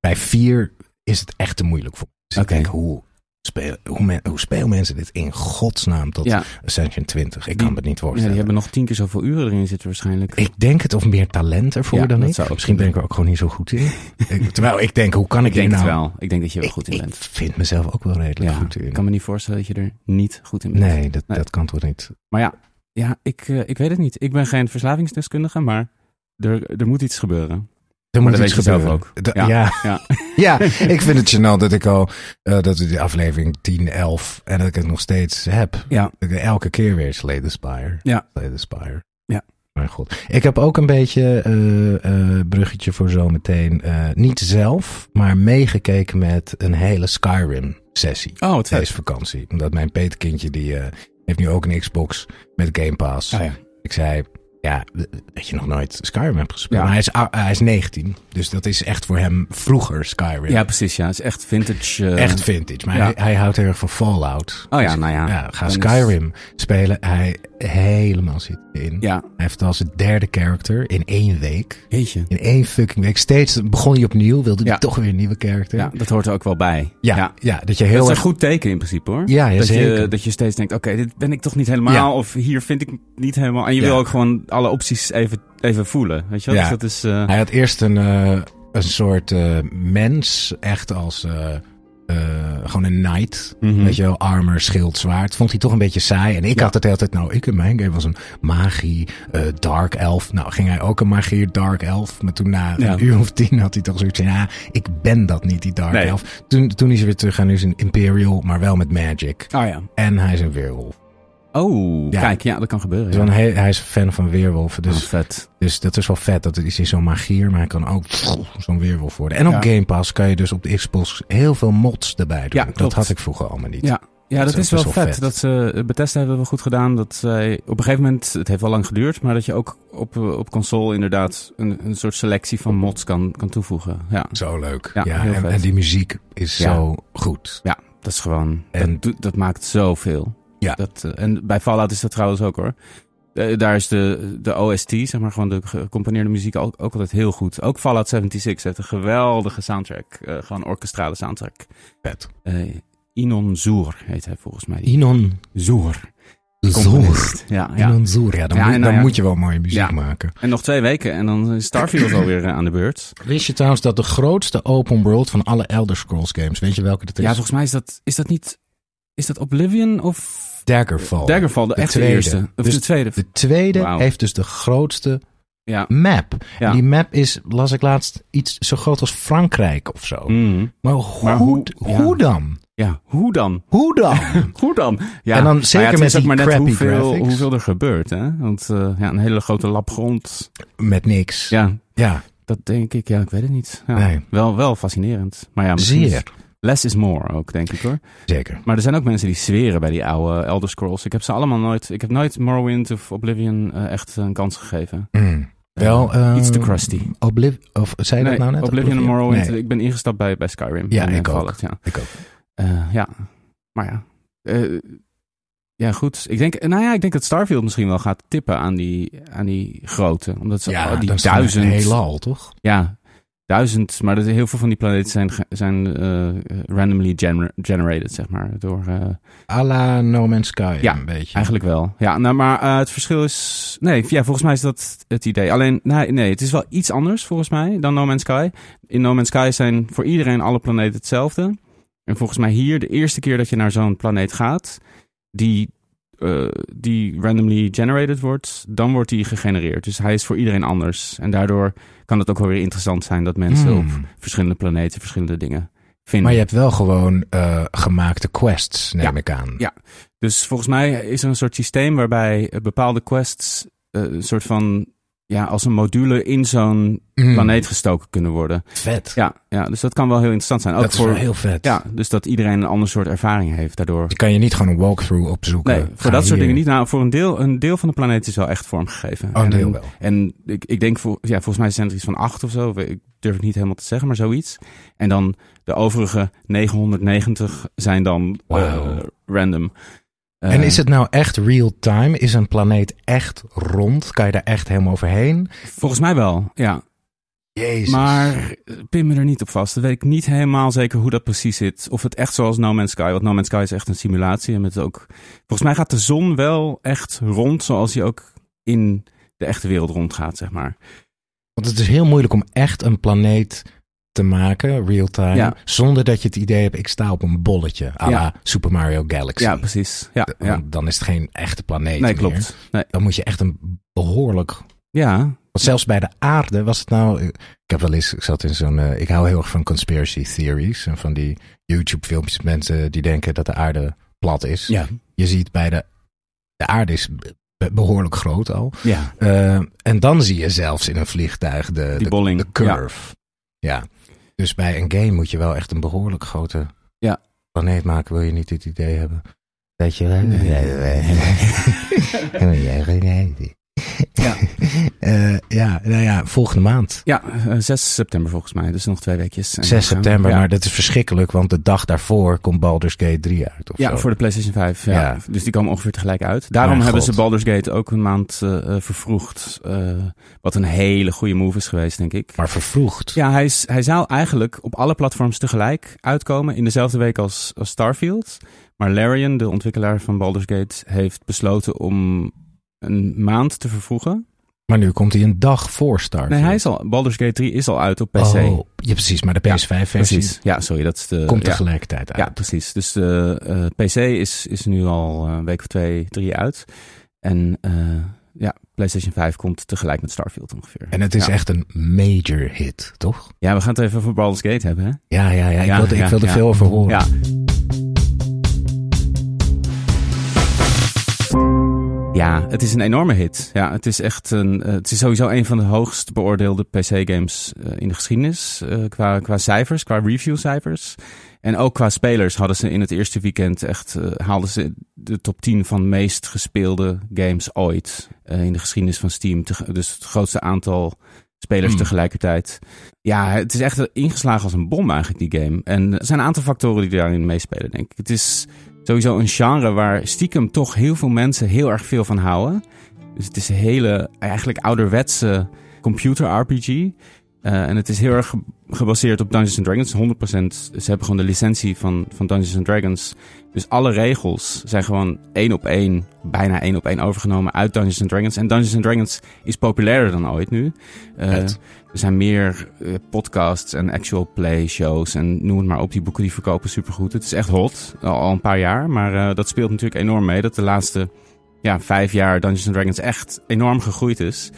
S2: bij vier is het echt te moeilijk voor me. Dus
S1: Oké.
S2: ik denk, hoe, speel, hoe, men, hoe spelen mensen dit in godsnaam tot
S1: Ja.
S2: ascension 20? Ik
S1: Die-
S2: kan me het niet
S1: Ja,
S2: voorstellen.
S1: die hebben nog tien keer zoveel uren erin zitten waarschijnlijk.
S2: Ik denk het of meer talent ervoor
S1: Ja,
S2: dan
S1: dat
S2: ik.
S1: zou ook
S2: Misschien ben ik er ook gewoon niet zo goed in. Ik- terwijl ik denk, hoe kan ik,
S1: Ik denk
S2: hier
S1: het
S2: nou...
S1: wel. Ik denk dat je er
S2: Ik,
S1: goed in
S2: ik
S1: bent.
S2: vind mezelf ook wel redelijk
S1: Ja,
S2: goed
S1: ik
S2: in.
S1: kan me niet voorstellen dat je er niet goed in bent.
S2: Nee dat,
S1: Nee.
S2: dat kan toch niet.
S1: Maar ja, ja ik, eh, ik weet het niet. Ik ben geen verslavingsdeskundige, maar er, er moet iets gebeuren.
S2: Er
S1: Maar
S2: moet
S1: dat
S2: iets
S1: weet je zelf
S2: gebeuren.
S1: ook.
S2: Da-
S1: Ja.
S2: ja.
S1: Ja.
S2: Ja, ik vind het gênant dat ik al, eh, dat we die aflevering 10, 11 en dat ik het nog steeds heb.
S1: Ja.
S2: Dat ik elke keer weer Slay the Spire.
S1: Ja.
S2: Slay the Spire.
S1: Ja.
S2: Mijn god. Ik heb ook een beetje eh, eh, bruggetje voor zometeen. eh, niet zelf, maar meegekeken met een hele Skyrim sessie.
S1: Oh, het
S2: Deze vakantie. Omdat mijn peetkindje die eh, heeft nu ook een Xbox met Game Pass.
S1: Oh ja.
S2: Ik zei, Ja, dat je nog nooit Skyrim hebt gespeeld.
S1: Ja.
S2: Maar hij is, ou- hij is 19, dus dat is echt voor hem vroeger Skyrim.
S1: Ja, precies. Ja, het is echt vintage. eh,
S2: Echt vintage, maar
S1: ja.
S2: hij, hij houdt heel erg van Fallout.
S1: Oh ja,
S2: Dus,
S1: nou ja.
S2: ga
S1: Dan
S2: Skyrim spelen. Hij helemaal zit in.
S1: Ja.
S2: Hij heeft al zijn derde character in één week.
S1: Jeetje.
S2: In één fucking week. Steeds begon hij opnieuw, wilde hij
S1: Ja.
S2: toch weer een nieuwe character.
S1: Ja, dat hoort er ook wel bij.
S2: ja, ja. dat je heel
S1: dat is een
S2: erg...
S1: goed teken in principe hoor.
S2: Ja, ja,
S1: dat, je,
S2: zeker.
S1: dat je steeds denkt, oké, dit ben ik toch niet helemaal.
S2: Ja.
S1: Of hier vind ik niet helemaal. En je
S2: Ja.
S1: wil ook gewoon alle opties even, even voelen. Weet je wel?
S2: Ja.
S1: Dus dat is... eh,
S2: Hij had eerst een, eh, een soort eh, mens, echt als eh, eh, gewoon een knight.
S1: Mhm.
S2: Weet je wel, armor, schild, zwaard. Vond hij toch een beetje saai. En ik had het de hele tijd, nou, ik in mijn game was een magie, eh, dark elf. Nou, ging hij ook een magier, dark elf. Maar toen na
S1: Ja.
S2: een uur of tien had hij toch zoiets van, ja, ik ben dat niet, die dark
S1: Nee.
S2: elf. Toen, toen is hij weer terug en nu is hij een imperial, maar wel met magic.
S1: Oh ja.
S2: En hij is een weerwolf.
S1: Oh,
S2: Ja.
S1: kijk, ja, dat kan gebeuren.
S2: Dus
S1: ja.
S2: dan he- hij is fan van weerwolven. Dus
S1: Oh, vet.
S2: dus dat is wel vet. Dat is in zo'n magier, maar hij kan ook zo'n weerwolf worden. En op
S1: Ja.
S2: Game Pass kan je dus op de Xbox heel veel mods erbij doen.
S1: Ja,
S2: dat
S1: klopt.
S2: had ik vroeger allemaal niet.
S1: Ja. Ja, dat,
S2: Dat
S1: is
S2: is
S1: wel
S2: best
S1: vet.
S2: wel vet.
S1: Dat ze, eh, Bethesda hebben wel goed gedaan. Dat zij op een gegeven moment, het heeft wel lang geduurd, maar dat je ook op, eh, op console inderdaad een, een soort selectie van mods kan, kan toevoegen. Ja,
S2: Zo leuk.
S1: Ja,
S2: Ja,
S1: heel
S2: en,
S1: vet.
S2: en die muziek is
S1: Ja.
S2: zo goed.
S1: ja dat is gewoon,
S2: En-
S1: dat, doet- dat maakt zoveel.
S2: Ja.
S1: Dat, eh, en bij Fallout is dat trouwens ook hoor. Eh, daar is de, de OST, zeg maar gewoon de gecomponeerde muziek ook, ook altijd heel goed. Ook Fallout 76 heeft een geweldige soundtrack, eh, gewoon orkestrale soundtrack.
S2: Vet.
S1: Eh, Inon Zoer heet hij volgens mij.
S2: Inon
S1: Zoer.
S2: Zoer.
S1: Ja, ja.
S2: Inon Zoer. Ja, dan,
S1: Ja,
S2: moet,
S1: en
S2: dan
S1: nou ja.
S2: moet je wel mooie muziek
S1: Ja.
S2: maken.
S1: En nog twee weken en dan is Starfield alweer eh, aan de beurt.
S2: Wist je trouwens dat de grootste open world van alle Elder Scrolls games, weet je welke dat is?
S1: Ja, volgens mij is dat, is dat niet... Is dat Oblivion of
S2: Daggerfall.
S1: Daggerfall? De,
S2: De
S1: echte
S2: tweede.
S1: eerste. Of
S2: Dus
S1: de tweede.
S2: De tweede
S1: Wauw.
S2: heeft dus de grootste
S1: Ja.
S2: map.
S1: Ja.
S2: En Die map is, las ik laatst, iets zo groot als Frankrijk of zo.
S1: Mm.
S2: Maar hoe,
S1: Maar hoe- ja.
S2: hoe dan?
S1: Ja, hoe dan?
S2: Hoe dan?
S1: Hoe dan? Ja,
S2: En dan
S1: nou ja,
S2: zeker
S1: het
S2: met
S1: is ook
S2: die
S1: maar net
S2: crappy
S1: hoeveel,
S2: graphics.
S1: hoeveel er gebeurt, hè? Want eh, ja, een hele grote lap grond.
S2: Met niks. Ja,
S1: Ja, dat denk ik. Ja, ik weet het niet. Ja,
S2: Nee.
S1: wel, wel fascinerend. Maar ja, misschien is-
S2: zeer.
S1: less is more ook, denk ik hoor.
S2: Zeker.
S1: Maar er zijn ook mensen die zweren bij die oude Elder Scrolls. Ik heb ze allemaal nooit... Ik heb nooit Morrowind of Oblivion eh, echt een kans gegeven.
S2: Mm. Wel,
S1: Eh,
S2: eh,
S1: iets te crusty.
S2: Obliv of zei je
S1: Nee,
S2: dat nou net?
S1: Oblivion en Morrowind.
S2: Nee,
S1: Ik ben ingestapt bij, bij Skyrim.
S2: Ja,
S1: en, eh,
S2: ik ook.
S1: Fallout, ja.
S2: ik ook.
S1: Eh, ja, maar ja. Eh, ja, goed. Ik denk, nou ja, ik denk dat Starfield misschien wel gaat tippen aan die, aan die grote. Omdat ze
S2: Ja,
S1: oh, die
S2: dan staan we
S1: duizend...
S2: een heelal, toch?
S1: Ja, duizend. Maar dat, heel veel van die planeten zijn, ge- zijn eh, eh, randomly gener- generated, zeg maar. Door, eh,
S2: A la No Man's Sky
S1: Ja,
S2: een beetje.
S1: Eigenlijk wel. Ja, nou, maar eh, het verschil is... Nee, ja, volgens mij is dat het idee. Alleen, nee, nee, het is wel iets anders volgens mij dan No Man's Sky. In No Man's Sky zijn voor iedereen alle planeten hetzelfde. En volgens mij hier, de eerste keer dat je naar zo'n planeet gaat... die, eh, die randomly generated wordt, dan wordt die gegenereerd. Dus hij is voor iedereen anders. En daardoor kan het ook wel weer interessant zijn... dat mensen
S2: Hmm.
S1: op verschillende planeten verschillende dingen vinden.
S2: Maar je hebt wel gewoon eh, gemaakte quests, neem ik aan.
S1: Ja. Dus volgens mij is er een soort systeem waarbij eh, bepaalde quests eh, een soort van ja, als een module in zo'n
S2: Mm,
S1: planeet gestoken kunnen worden.
S2: Vet.
S1: Ja, ja, dus dat kan wel heel interessant zijn. Ook
S2: dat is
S1: voor,
S2: wel heel vet.
S1: ja, dus dat iedereen een ander soort ervaring heeft daardoor.
S2: Je kan je niet gewoon een walkthrough opzoeken.
S1: Nee,
S2: Ga
S1: voor dat soort
S2: hier.
S1: dingen niet. Nou, voor een deel, een deel van de planeet is wel echt vormgegeven.
S2: Oh, een
S1: En-
S2: deel wel.
S1: En ik, ik denk, voor, ja, volgens mij zijn er iets van acht of zo. Ik durf het niet helemaal te zeggen, maar zoiets. En dan de overige 990 zijn dan eh,
S2: Wauw.
S1: random. Eh,
S2: en is het nou echt real-time? Is een planeet echt rond? Kan je daar echt helemaal overheen?
S1: Volgens mij wel, ja.
S2: Jezus.
S1: Maar eh, pin me er niet op vast. Dan weet ik niet helemaal zeker hoe dat precies zit. Of het echt zoals No Man's Sky. Want No Man's Sky is echt een simulatie. En met ook... Volgens mij gaat de zon wel echt rond zoals hij ook in de echte wereld rondgaat, zeg maar.
S2: Want het is heel moeilijk om echt een planeet te maken, real-time,
S1: Ja.
S2: zonder dat je het idee hebt, ik sta op een bolletje, à
S1: Ja.
S2: la Super Mario Galaxy.
S1: Ja, precies. Ja,
S2: D-
S1: ja.
S2: Want dan is het geen echte planeet
S1: Nee,
S2: meer.
S1: klopt. Nee.
S2: Dan moet je echt een behoorlijk... Want
S1: Ja,
S2: zelfs bij de aarde was het nou... Ik heb wel eens, ik zat in zo'n... eh, ik hou heel erg van conspiracy theories en van die YouTube-filmpjes met mensen die denken dat de aarde plat is.
S1: ja.
S2: Je ziet bij de... De aarde is be- behoorlijk groot al.
S1: ja.
S2: Eh, en dan zie je zelfs in een vliegtuig de,
S1: Die
S2: de,
S1: bolling.
S2: de curve. Ja. Dus bij een game moet je wel echt een behoorlijk grote
S1: Ja.
S2: planeet maken. Wil je niet het idee hebben dat je... Ja. Eh, ja, nou ja, volgende maand.
S1: Ja, eh, 6 september volgens mij. Dus nog twee weekjes. En
S2: 6
S1: dan gaan we-
S2: september,
S1: ja.
S2: maar dat is verschrikkelijk, want de dag daarvoor komt Baldur's Gate 3 uit. Of
S1: Ja,
S2: zo.
S1: voor de PlayStation 5. Ja.
S2: Ja.
S1: Dus die kwam ongeveer tegelijk uit. Daarom
S2: Mijn
S1: hebben
S2: god.
S1: ze Baldur's Gate ook een maand eh, eh, vervroegd. eh, wat een hele goede move is geweest, denk ik.
S2: Maar vervroegd.
S1: Ja, hij, is, hij zou eigenlijk op alle platforms tegelijk uitkomen. In dezelfde week als, als Starfield. Maar Larian, de ontwikkelaar van Baldur's Gate, heeft besloten om een maand te vervroegen.
S2: Maar nu komt hij een dag voor start.
S1: Nee, hij is al, Baldur's Gate 3 is al uit op PC.
S2: Oh, ja, precies, maar de PS5-versie
S1: precies. Ja, sorry, dat is de...
S2: komt
S1: ja.
S2: tegelijkertijd uit.
S1: Ja, precies. Dus de eh, PC is, is nu al eh, een week of twee, drie uit. En eh, ja, PlayStation 5 komt tegelijk met Starfield ongeveer.
S2: En het is
S1: ja.
S2: echt een major hit, toch?
S1: Ja, we gaan het even over Baldur's Gate hebben, hè?
S2: Ja, ja, ja. Ik
S1: Ja,
S2: wilde wil,
S1: ja,
S2: ik wil er
S1: ja.
S2: veel over horen.
S1: Ja. Ja, het is een enorme hit. Ja, het is echt een. eh, het is sowieso een van de hoogst beoordeelde PC-games in de geschiedenis. eh, qua, qua cijfers, qua reviewcijfers. En ook qua spelers hadden ze in het eerste weekend echt. eh, haalden ze de top 10 van meest gespeelde games ooit. eh, in de geschiedenis van Steam. Teg- Dus het grootste aantal spelers
S2: Hmm.
S1: tegelijkertijd. Ja, het is echt ingeslagen als een bom eigenlijk, die game. En er zijn een aantal factoren die daarin meespelen, denk ik. Het is sowieso een genre waar stiekem toch heel veel mensen heel erg veel van houden. Dus het is een hele, eigenlijk ouderwetse computer-RPG. Eh, en het is heel erg ge- gebaseerd op Dungeons and Dragons, 100%. Ze hebben gewoon de licentie van, van Dungeons and Dragons. Dus alle regels zijn gewoon één op één, bijna één op één overgenomen uit Dungeons and Dragons. En Dungeons and Dragons is populairder dan ooit nu. Eh,
S2: Vet.
S1: er zijn meer eh, podcasts en actual play shows en noem het maar op. Die boeken die verkopen supergoed. Het is echt hot, al, al een paar jaar. Maar eh, dat speelt natuurlijk enorm mee. Dat de laatste ja, vijf jaar Dungeons and Dragons echt enorm gegroeid is.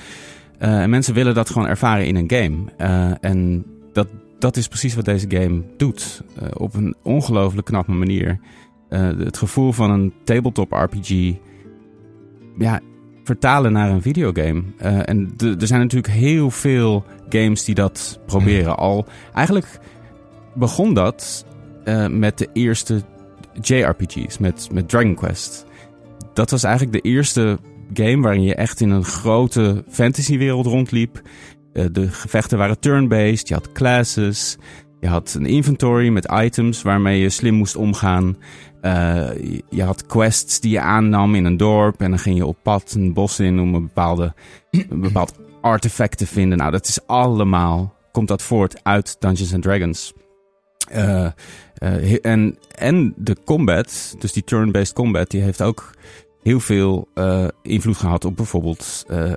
S1: Eh, en mensen willen dat gewoon ervaren in een game. Eh, en dat, dat is precies wat deze game doet. Eh, op een ongelooflijk knappe manier. Eh, het gevoel van een tabletop RPG ja, vertalen naar een videogame. Eh, en de- er zijn natuurlijk heel veel games die dat proberen. Al eigenlijk begon dat eh, met de eerste JRPG's, met, met Dragon Quest. Dat was eigenlijk de eerste game waarin je echt in een grote fantasywereld rondliep. Eh, de gevechten waren turn-based, je had classes, je had een inventory met items waarmee je slim moest omgaan. Eh, je- je had quests die je aannam in een dorp en dan ging je op pad een bos in om een, bepaalde, een bepaald artefact te vinden. Nou, dat is allemaal, komt dat voort uit Dungeons and Dragons. Eh, eh, he- en, en de combat, dus die turn-based combat, die heeft ook heel veel eh, invloed gehad op bijvoorbeeld eh,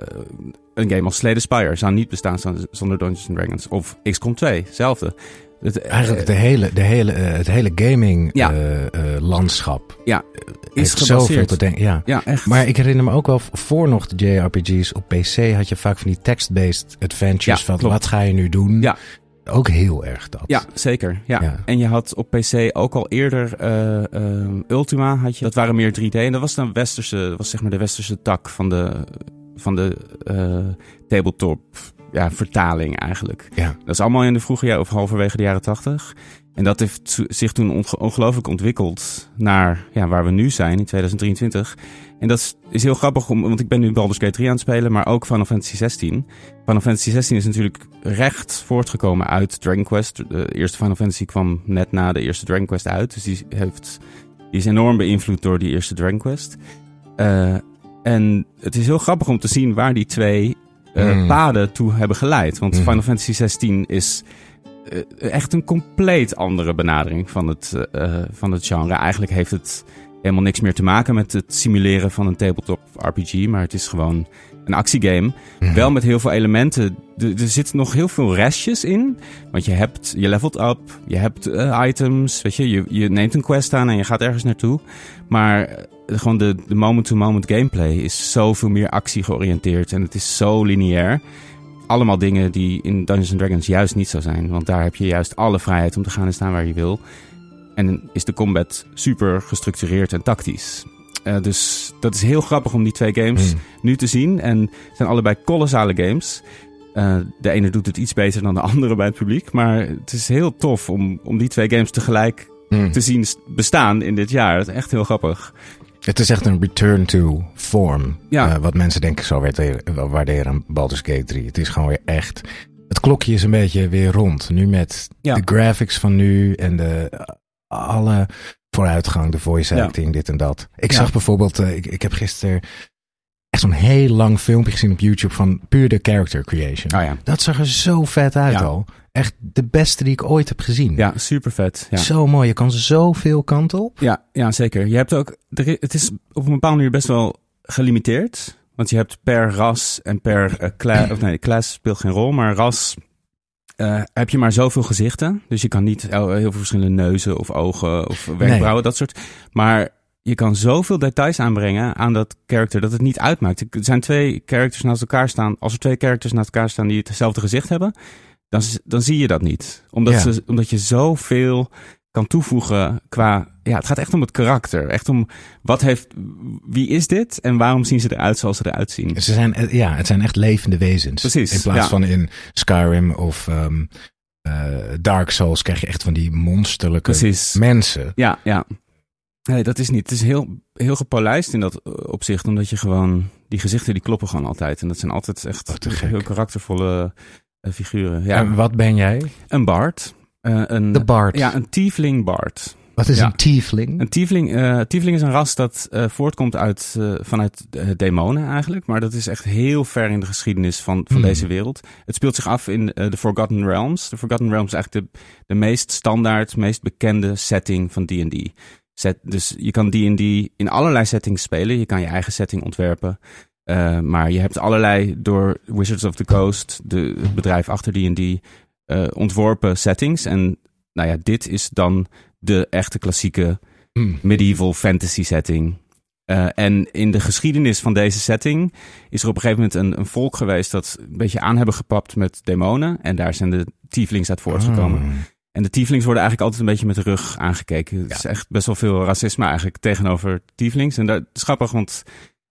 S1: een game als Slay the Spire. Zou niet bestaan zon- zonder Dungeons and Dragons. Of XCOM 2, hetzelfde. Het-
S2: Eigenlijk de hele, de hele, eh, het hele
S1: Ja.
S2: gaming-landschap
S1: Ja, is
S2: heeft zoveel
S1: gebaseerd.
S2: te denken. Ja.
S1: Ja, echt.
S2: Maar ik herinner me ook wel, voor nog de JRPG's op PC had je vaak van die text-based adventures
S1: Ja,
S2: van
S1: klopt.
S2: wat ga je nu doen?
S1: Ja.
S2: Ook heel erg dat.
S1: Ja, zeker. Ja.
S2: Ja.
S1: En je had op PC ook al eerder eh, ehm, Ultima. Had je, dat waren meer 3D. En dat was dan westerse, dat was zeg maar de westerse tak van de, van de eh, tabletop ja, vertaling eigenlijk.
S2: Ja.
S1: Dat is allemaal in de vroege jaren of halverwege de jaren 80. En dat heeft zo- zich toen onge- ongelooflijk ontwikkeld naar ja, waar we nu zijn in 2023. En dat is, is heel grappig, om, want ik ben nu Baldur's Gate 3 aan het spelen, maar ook Final Fantasy 16. Final Fantasy 16 is natuurlijk recht voortgekomen uit Dragon Quest. De eerste Final Fantasy kwam net na de eerste Dragon Quest uit. Dus die, heeft, die is enorm beïnvloed door die eerste Dragon Quest. Eh, en het is heel grappig om te zien waar die twee eh,
S2: Mm.
S1: paden toe hebben geleid. Want
S2: Mhm.
S1: Final Fantasy 16 is eh, echt een compleet andere benadering van het, eh, eh, van het genre. Eigenlijk heeft het helemaal niks meer te maken met het simuleren van een tabletop RPG. Maar het is gewoon een actiegame.
S2: Mhm.
S1: Wel met heel veel elementen. Er, er zitten nog heel veel restjes in. Want je hebt, je levelt up, je hebt eh, items, weet je, je, je neemt een quest aan en je gaat ergens naartoe. Maar eh, gewoon de de moment-to-moment gameplay is zoveel meer actie georiënteerd en het is zo lineair. Allemaal dingen die in Dungeons Dragons juist niet zo zijn. Want daar heb je juist alle vrijheid om te gaan en staan waar je wil. En is de combat super gestructureerd en tactisch. Eh, dus dat is heel grappig om die twee games
S2: Hmm.
S1: nu te zien. En het zijn allebei kolossale games. Eh, de ene doet het iets beter dan de andere bij het publiek. Maar het is heel tof om, om die twee games tegelijk
S2: Hmm.
S1: te zien s- bestaan in dit jaar. Dat is echt heel grappig.
S2: Het is echt een return to form.
S1: Ja.
S2: Eh, wat mensen denk ik zo waarderen- wel waarderen aan Baldur's Gate 3. Het is gewoon weer echt... Het klokje is een beetje weer rond. Nu met
S1: Ja.
S2: de graphics van nu en de, eh, alle vooruitgang, de voice
S1: Ja.
S2: acting, dit en dat. Ik
S1: Ja.
S2: zag bijvoorbeeld, eh, ik, ik heb gisteren echt zo'n heel lang filmpje gezien op YouTube van puur de character creation.
S1: Oh ja.
S2: Dat zag er zo vet uit
S1: Ja.
S2: al. Echt de beste die ik ooit heb gezien.
S1: Ja, super vet. Ja.
S2: Zo mooi. Je kan zoveel kanten op.
S1: Ja, ja, zeker. Je hebt ook, er i- het is op een bepaalde manier best wel gelimiteerd. Want je hebt per ras en per eh, kla- of nee, klas speelt geen rol, maar ras eh, heb je maar zoveel gezichten. Dus je kan niet el- heel veel verschillende neuzen of ogen of wenkbrauwen, dat soort. Maar je kan zoveel details aanbrengen aan dat character dat het niet uitmaakt. Er zijn twee characters naast elkaar staan. Als er twee characters naast elkaar staan die hetzelfde gezicht hebben, dan, z- dan zie je dat niet. Omdat,
S2: Ja.
S1: ze, omdat je zoveel kan toevoegen qua... Ja, het gaat echt om het karakter. Echt om wat heeft... Wie is dit en waarom zien ze eruit zoals ze eruit zien?
S2: Ze zijn, eh, ja, het zijn echt levende wezens.
S1: Precies,
S2: In plaats
S1: ja.
S2: van in Skyrim of ehm, eh, Dark Souls krijg je echt van die monsterlijke
S1: Precies.
S2: mensen.
S1: Ja, ja. Nee, dat is niet. Het is heel, heel gepolijst in dat eh, opzicht. Omdat je gewoon... Die gezichten die kloppen gewoon altijd. En dat zijn altijd echt
S2: Oh, te gek.
S1: heel karaktervolle eh, figuren. Ja.
S2: En wat ben jij?
S1: Een bard. Eh, een,
S2: De bard.
S1: Ja, een tiefling bard.
S2: Wat is
S1: Ja.
S2: een tiefling?
S1: Een tiefling, eh, tiefling is een ras dat eh, voortkomt uit, eh, vanuit eh, demonen eigenlijk. Maar dat is echt heel ver in de geschiedenis van, van
S2: Hmm.
S1: deze wereld. Het speelt zich af in eh, de Forgotten Realms. De Forgotten Realms is eigenlijk de, de meest standaard, meest bekende setting van D&D. Set- Dus je kan D&D in allerlei settings spelen. Je kan je eigen setting ontwerpen. Eh, maar je hebt allerlei door Wizards of the Coast, de, het bedrijf achter D&D, eh, ontworpen settings. En nou ja, dit is dan de echte klassieke
S2: Hmm.
S1: medieval fantasy setting. Eh, en in de geschiedenis van deze setting is er op een gegeven moment een, een volk geweest dat een beetje aan hebben gepapt met demonen. En daar zijn de tieflings uit voortgekomen.
S2: Ah.
S1: En de tieflings worden eigenlijk altijd een beetje met de rug aangekeken. Het is echt best wel veel racisme eigenlijk tegenover tieflings. En dat is grappig, want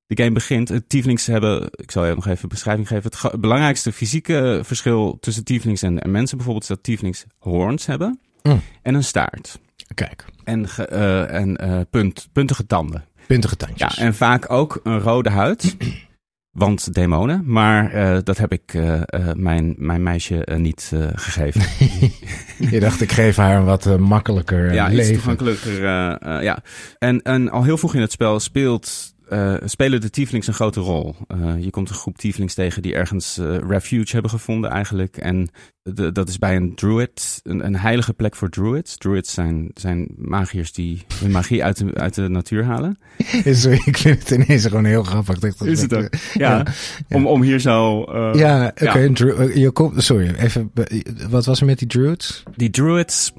S1: de game begint. eh, Tieflings hebben, ik zal je nog even een beschrijving geven. Het ge- belangrijkste fysieke verschil tussen tieflings en, en mensen bijvoorbeeld is dat tieflings hoorns hebben
S2: Mm.
S1: en een staart
S2: Kijk,
S1: en, ge- eh, en eh, punt, puntige tanden.
S2: puntige tandjes.
S1: Ja, en vaak ook een rode huid. Want demonen, maar eh, dat heb ik eh, eh, mijn, mijn meisje eh, niet eh, gegeven.
S2: je dacht, ik geef haar een wat eh, makkelijker eh,
S1: ja, iets
S2: leven.
S1: toegankelijker. eh, eh, ja. en, en al heel vroeg in het spel speelt, eh, spelen de tieflings een grote rol. Eh, je komt een groep tieflings tegen die ergens eh, refuge hebben gevonden eigenlijk. En de- dat is bij een druid, een, een heilige plek voor druids. Druids zijn, zijn magiërs die hun magie uit de, uit de natuur halen.
S2: Sorry, ik vind het ineens gewoon heel grappig. Ik dacht,
S1: Is het
S2: dat-
S1: ook? Ja.
S2: Ja.
S1: Om, om hier zo. eh,
S2: Ja, oké.
S1: Ja.
S2: een dru- eh, je komt- Sorry, even. be- Wat was er met die druids?
S1: Die druids.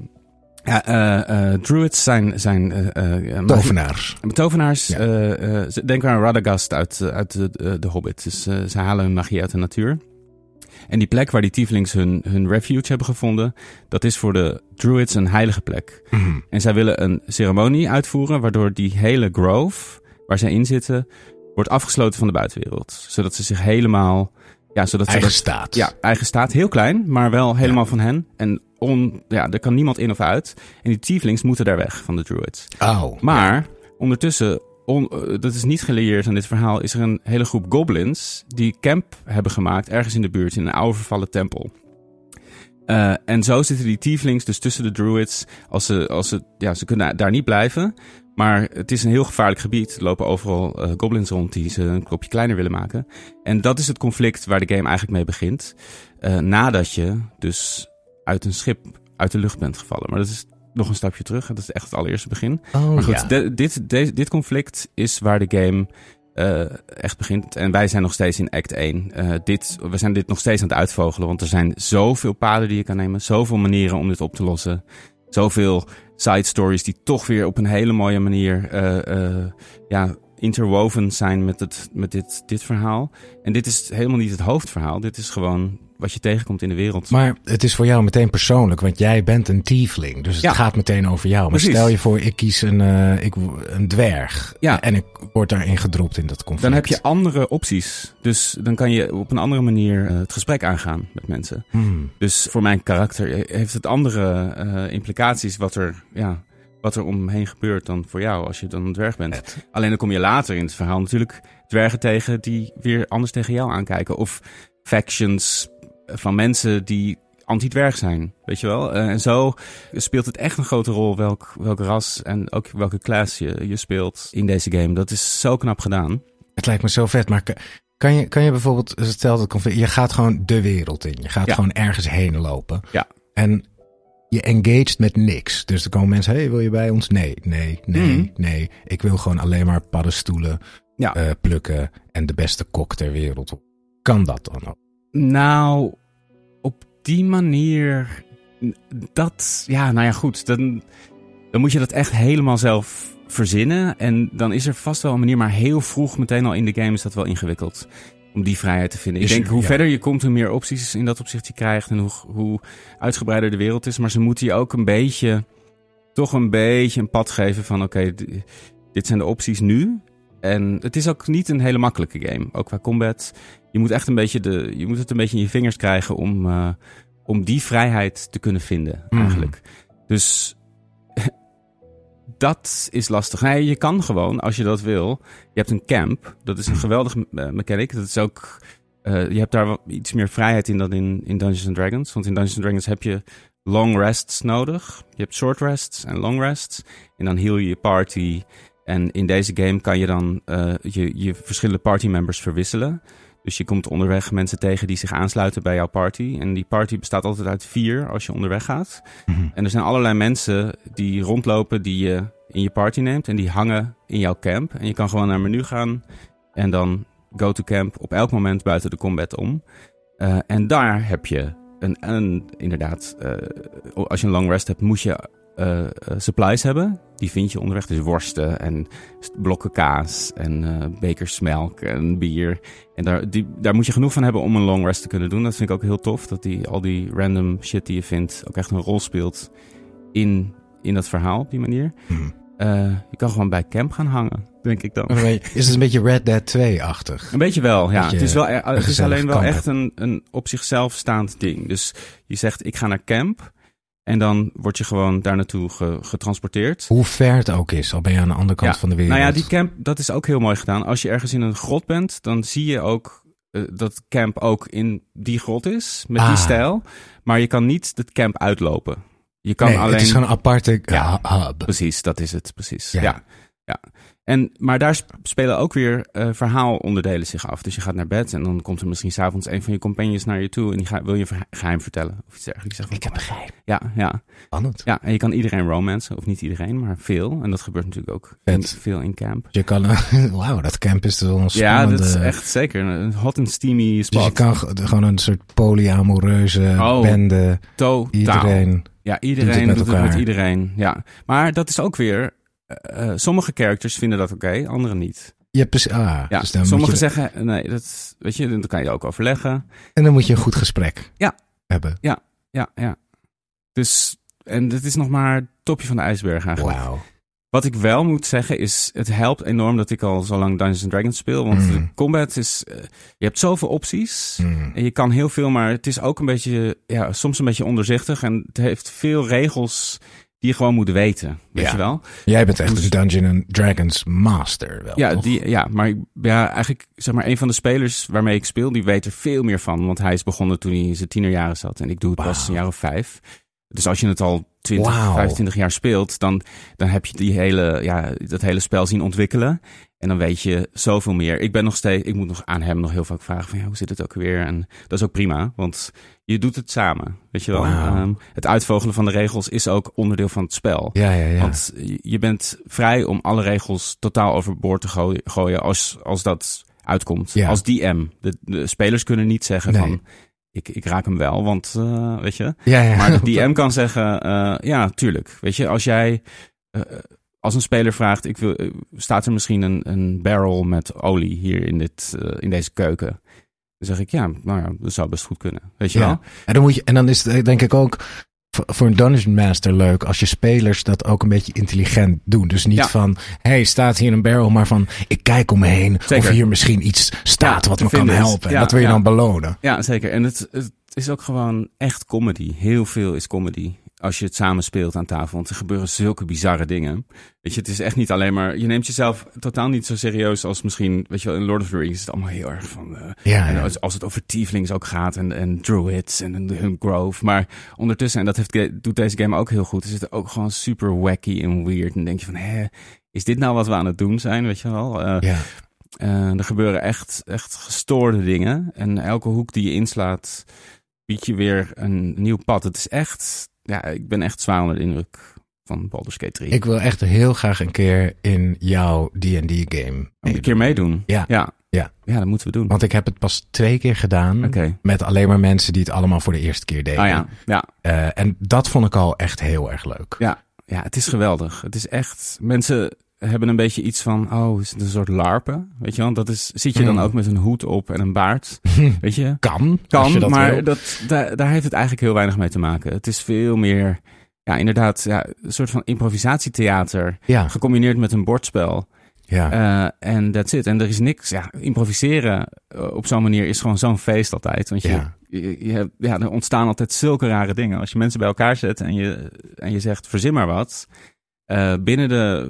S1: Ja, eh, eh, druids zijn. zijn eh, eh, eh,
S2: Tovenaars.
S1: magie- Tovenaars.
S2: Ja.
S1: eh, eh, ze- denk maar aan Radagast uit, eh, uit de, de- de Hobbit. Dus eh, ze halen hun magie uit de natuur. En die plek waar die tieflings hun, hun refuge hebben gevonden, dat is voor de druids een heilige plek.
S2: Mhm.
S1: En zij willen een ceremonie uitvoeren waardoor die hele grove waar zij in zitten, wordt afgesloten van de buitenwereld. Zodat ze zich helemaal... Ja, zodat ze
S2: Eigen
S1: dat-
S2: staat.
S1: Ja, eigen staat. Heel klein, maar wel helemaal van hen. En on, ja, er kan niemand in of uit. En die tieflings moeten daar weg van de druids.
S2: Au.
S1: Maar ondertussen, on- eh, dat is niet geleerd aan dit verhaal... is er een hele groep goblins die camp hebben gemaakt... ergens in de buurt, in een oude vervallen tempel. Eh, en zo zitten die tieflings dus tussen de druids. Als ze, als ze, ja, ze kunnen daar niet blijven. Maar het is een heel gevaarlijk gebied. Er lopen overal eh, goblins rond die ze een klopje kleiner willen maken. En dat is het conflict waar de game eigenlijk mee begint. Eh, nadat je dus uit een schip uit de lucht bent gevallen. Maar dat is nog een stapje terug. Dat is echt het allereerste begin.
S2: Oh,
S1: Maar goed,
S2: ja.
S1: de- dit, de- dit conflict is waar de game eh, echt begint. En wij zijn nog steeds in act 1. Eh, dit, we zijn dit nog steeds aan het uitvogelen. Want er zijn zoveel paden die je kan nemen. Zoveel manieren om dit op te lossen. Zoveel side stories die toch weer op een hele mooie manier eh, eh, ja, interwoven zijn met, het, met dit, dit verhaal. En dit is helemaal niet het hoofdverhaal. Dit is gewoon wat je tegenkomt in de wereld.
S2: Maar het is voor jou meteen persoonlijk, want jij bent een tiefling. Dus het
S1: Ja.
S2: gaat meteen over jou. Maar
S1: Precies.
S2: stel je voor, ik kies een, eh, ik, een dwerg.
S1: Ja.
S2: En ik word daarin gedropt in dat conflict.
S1: Dan heb je andere opties. Dus dan kan je op een andere manier eh, het gesprek aangaan met mensen.
S2: Hmm.
S1: Dus voor mijn karakter heeft het andere eh, implicaties wat eh, er, ja, wat er omheen gebeurt dan voor jou als je dan een dwerg bent. Alleen dan kom je later in het verhaal natuurlijk dwergen tegen die weer anders tegen jou aankijken. Of factions van mensen die anti-dwerg zijn, weet je wel. Eh, en zo speelt het echt een grote rol welk, welk ras en ook welke class je, je speelt in deze game. Dat is zo knap gedaan.
S2: Het lijkt me zo vet, maar k- kan je, kan je bijvoorbeeld, stel dat conflict, je gaat gewoon de wereld in. Je gaat
S1: Ja.
S2: gewoon ergens heen lopen.
S1: Ja.
S2: En je engaged met niks. Dus er komen mensen, hey, wil je bij ons? Nee, nee, nee,
S1: Mhm.
S2: nee. Ik wil gewoon alleen maar paddenstoelen
S1: Ja.
S2: eh, plukken en de beste kok ter wereld. Kan dat dan ook?
S1: Nou, op die manier. Dat. Ja, nou ja, goed. Dan, dan moet je dat echt helemaal zelf verzinnen. En dan is er vast wel een manier, maar heel vroeg meteen al in de game is dat wel ingewikkeld. Om die vrijheid te vinden. Ik
S2: Is-
S1: denk hoe
S2: ja.
S1: verder je komt, hoe meer opties in dat opzicht je krijgt. En hoe, hoe uitgebreider de wereld is. Maar ze moeten je ook een beetje. toch een beetje een pad geven van: oké, d- dit zijn de opties nu. En het is ook niet een hele makkelijke game. Ook qua combat. Je moet, echt een beetje de, je moet het een beetje in je vingers krijgen om, eh, om die vrijheid te kunnen vinden,
S2: Mhm.
S1: eigenlijk. Dus dat is lastig. Nee, je kan gewoon, als je dat wil. Je hebt een camp. Dat is een geweldige eh, mechanic. Dat is ook. eh, je hebt daar wat, iets meer vrijheid in dan in, in Dungeons and Dragons. Want in Dungeons and Dragons heb je long rests nodig. Je hebt short rests en long rests. En dan heal je je party. En in deze game kan je dan eh, je, je verschillende partymembers verwisselen. Dus je komt onderweg mensen tegen die zich aansluiten bij jouw party. En die party bestaat altijd uit vier als je onderweg gaat. En er zijn allerlei mensen die rondlopen die je in je party neemt. En die hangen in jouw camp. En je kan gewoon naar het menu gaan. En dan go to camp op elk moment buiten de combat om. Eh, en daar heb je een, een inderdaad, eh, als je een long rest hebt, moet je eh, eh, supplies hebben. Die vind je onderweg. Dus worsten en st- blokken kaas en eh, bekers melk en bier. En daar, die, daar moet je genoeg van hebben om een long rest te kunnen doen. Dat vind ik ook heel tof. Dat die, al die random shit die je vindt ook echt een rol speelt in, in dat verhaal op die manier. Eh, je kan gewoon bij camp gaan hangen, denk ik dan.
S2: Een beetje- Is het een beetje Red Dead 2-achtig?
S1: Een beetje wel, ja.
S2: Dat je
S1: Het is, wel, eh,
S2: een
S1: het is
S2: gezellig
S1: alleen wel
S2: kamp
S1: echt een, een op zichzelf staand ding. Dus je zegt, ik ga naar camp. En dan word je gewoon daar naartoe ge- getransporteerd.
S2: Hoe ver het ook is, al ben je aan de andere kant
S1: Ja.
S2: van de wereld.
S1: Nou ja, die camp, dat is ook heel mooi gedaan. Als je ergens in een grot bent, dan zie je ook eh, dat camp ook in die grot is. Met
S2: Ah.
S1: die stijl. Maar je kan niet het camp uitlopen. Je kan
S2: nee,
S1: alleen...
S2: Het is gewoon een aparte eh,
S1: Ja.
S2: hub.
S1: Precies, dat is het, precies.
S2: Ja.
S1: Ja. ja. En, maar daar sp- spelen ook weer eh, verhaalonderdelen zich af. Dus je gaat naar bed en dan komt er misschien s'avonds een van je companions naar je toe. En die ga- wil je een verha- geheim vertellen of iets dergelijks. Je zegt van,
S2: Ik heb begrepen.
S1: Ja, ja,
S2: Spannend.
S1: ja, en je kan iedereen romancen. Of niet iedereen, maar veel. En dat gebeurt natuurlijk ook in-
S2: Vet.
S1: veel in camp.
S2: Je kan, wauw, dat camp is wel een
S1: Ja,
S2: spannende...
S1: dat is echt zeker een hot en steamy
S2: Dus je
S1: spot.
S2: kan g- gewoon een soort polyamoreuze
S1: Oh.
S2: bende.
S1: Totaal.
S2: Iedereen.
S1: Ja, iedereen
S2: het
S1: doet
S2: met
S1: het,
S2: elkaar.
S1: met iedereen. Ja. Maar dat is ook weer... eh, eh, sommige characters vinden dat oké, anderen niet.
S2: Je hebt precies, ah,
S1: Ja,
S2: dus dan moet
S1: sommigen
S2: je,
S1: zeggen, nee, dat, weet je, dat kan je ook overleggen.
S2: en dan moet je een goed gesprek
S1: Ja.
S2: hebben.
S1: Ja, ja. Dus, en dit is nog maar het topje van de ijsberg eigenlijk.
S2: Wauw.
S1: Wat ik wel moet zeggen is, het helpt enorm dat ik al zo lang Dungeons Dragons speel. Want
S2: Mm.
S1: de combat is, eh, je hebt zoveel opties.
S2: Mm.
S1: En je kan heel veel, maar het is ook een beetje, ja, soms een beetje onderzichtig. En het heeft veel regels die je gewoon moet weten, weet
S2: Ja.
S1: je wel?
S2: Jij bent echt een Dungeon and Dragons master wel,
S1: Dus- Ja,
S2: toch?
S1: die, ja, maar ik- ja, eigenlijk, zeg maar, een van de spelers waarmee ik speel, die weet er veel meer van. Want hij is begonnen toen hij in zijn tienerjaren zat. En ik doe het pas een jaar of vijf. Dus als je het al 20,
S2: Wauw.
S1: 25 jaar speelt, dan, dan heb je die hele, ja, dat hele spel zien ontwikkelen. En dan weet je zoveel meer. Ik ben nog steeds, ik moet nog aan hem nog heel vaak vragen van ja, hoe zit het ook weer? En dat is ook prima, want je doet het samen. Weet je wel?
S2: Wauw.
S1: Ehm, het uitvogelen van de regels is ook onderdeel van het spel.
S2: Ja, ja, ja.
S1: Want je- je bent vrij om alle regels totaal overboord te gooi- gooien als, als dat uitkomt.
S2: Ja.
S1: Als DM. De, de spelers kunnen niet zeggen
S2: Nee.
S1: van ik, ik raak hem wel, want eh, weet je.
S2: ja, ja.
S1: Maar de DM kan zeggen eh, ja, tuurlijk. Weet je, als jij eh, als een speler vraagt, ik wil, eh, staat er misschien een, een barrel met olie hier in, dit, eh, in deze keuken? Dan zeg ik ja, nou ja, dat zou best goed kunnen. Weet je wel?
S2: En dan, moet je, en dan is het eh, denk ik ook v- voor een Dungeon Master leuk als je spelers dat ook een beetje intelligent doen. Dus niet
S1: Ja.
S2: van, hey, staat hier een barrel, maar van, ik kijk om me heen of
S1: Zeker.
S2: hier misschien iets staat
S1: Ja,
S2: wat
S1: te
S2: me kan
S1: vinden is.
S2: helpen. En
S1: Ja,
S2: dat wil je
S1: ja.
S2: dan belonen.
S1: Ja, zeker. En het, het is ook gewoon echt comedy. Heel veel is comedy. als je het samen speelt aan tafel. Want er gebeuren zulke bizarre dingen. Weet je, het is echt niet alleen maar... Je neemt jezelf totaal niet zo serieus als misschien... Weet je wel, in Lord of the Rings is het allemaal heel erg van... eh,
S2: Ja,
S1: en
S2: ja.
S1: Als, als het over tieflings ook gaat en, en druids en hun grove. Maar ondertussen, en dat heeft, ge- doet deze game ook heel goed... is het ook gewoon super wacky en weird. En dan denk je van, hè, is dit nou wat we aan het doen zijn? Weet je wel? Eh,
S2: Ja.
S1: eh, er gebeuren echt, echt gestoorde dingen. En elke hoek die je inslaat, biedt je weer een nieuw pad. Het is echt, ja, ik ben echt zwaar onder de indruk van Baldur's Gate 3.
S2: Ik wil echt heel graag een keer in jouw D&D-game.
S1: Moet ik een keer meedoen.
S2: Ja.
S1: ja.
S2: Ja.
S1: Ja, dat moeten we doen.
S2: Want ik heb het pas twee keer gedaan.
S1: Oké.
S2: Met alleen maar mensen die het allemaal voor de eerste keer deden.
S1: Ah ja, ja,
S2: Eh, en dat vond ik al echt heel erg leuk.
S1: ja. Ja, het is geweldig. Het is echt, mensen hebben een beetje iets van, oh, is het een soort larpen? Weet je wel, dat is, zit je dan
S2: Mm.
S1: ook met een hoed op en een baard? Weet je?
S2: Kan, als
S1: Kan,
S2: je dat
S1: maar
S2: wil.
S1: dat, daar, daar heeft het eigenlijk heel weinig mee te maken. Het is veel meer, ja, inderdaad, ja, een soort van improvisatietheater.
S2: Ja,
S1: Gecombineerd met een bordspel.
S2: ja.
S1: Eh, En that's it. En er is niks, ja, improviseren eh, op zo'n manier is gewoon zo'n feest altijd. Want je,
S2: Ja.
S1: je, je hebt- ja, er ontstaan altijd zulke rare dingen. Als je mensen bij elkaar zet en je, en je zegt, verzin maar wat. eh, binnen de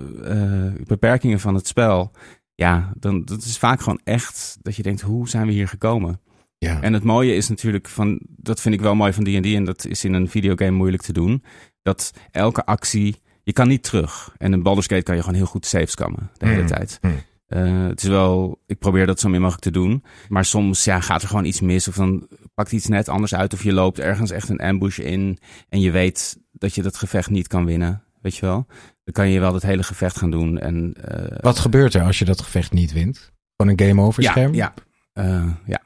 S1: eh, beperkingen van het spel. Ja, dan dat is vaak gewoon echt dat je denkt, hoe zijn we hier gekomen?
S2: ja.
S1: En het mooie is natuurlijk van, dat vind ik wel mooi van D&D en dat is in een videogame moeilijk te doen, dat elke actie, je kan niet terug. En in Baldur's Gate kan je gewoon heel goed saves kammen de hele
S2: Mm.
S1: tijd.
S2: Mm.
S1: Eh, het is wel, ik probeer dat zo min mogelijk te doen, maar soms ja, gaat er gewoon iets mis of dan pakt iets net anders uit of je loopt ergens echt een ambush in en je weet dat je dat gevecht niet kan winnen, weet je wel. Dan kan je wel dat hele gevecht gaan doen en... eh,
S2: Wat gebeurt er als je dat gevecht niet wint? Van een game over scherm?
S1: ja, ja. Eh, ja.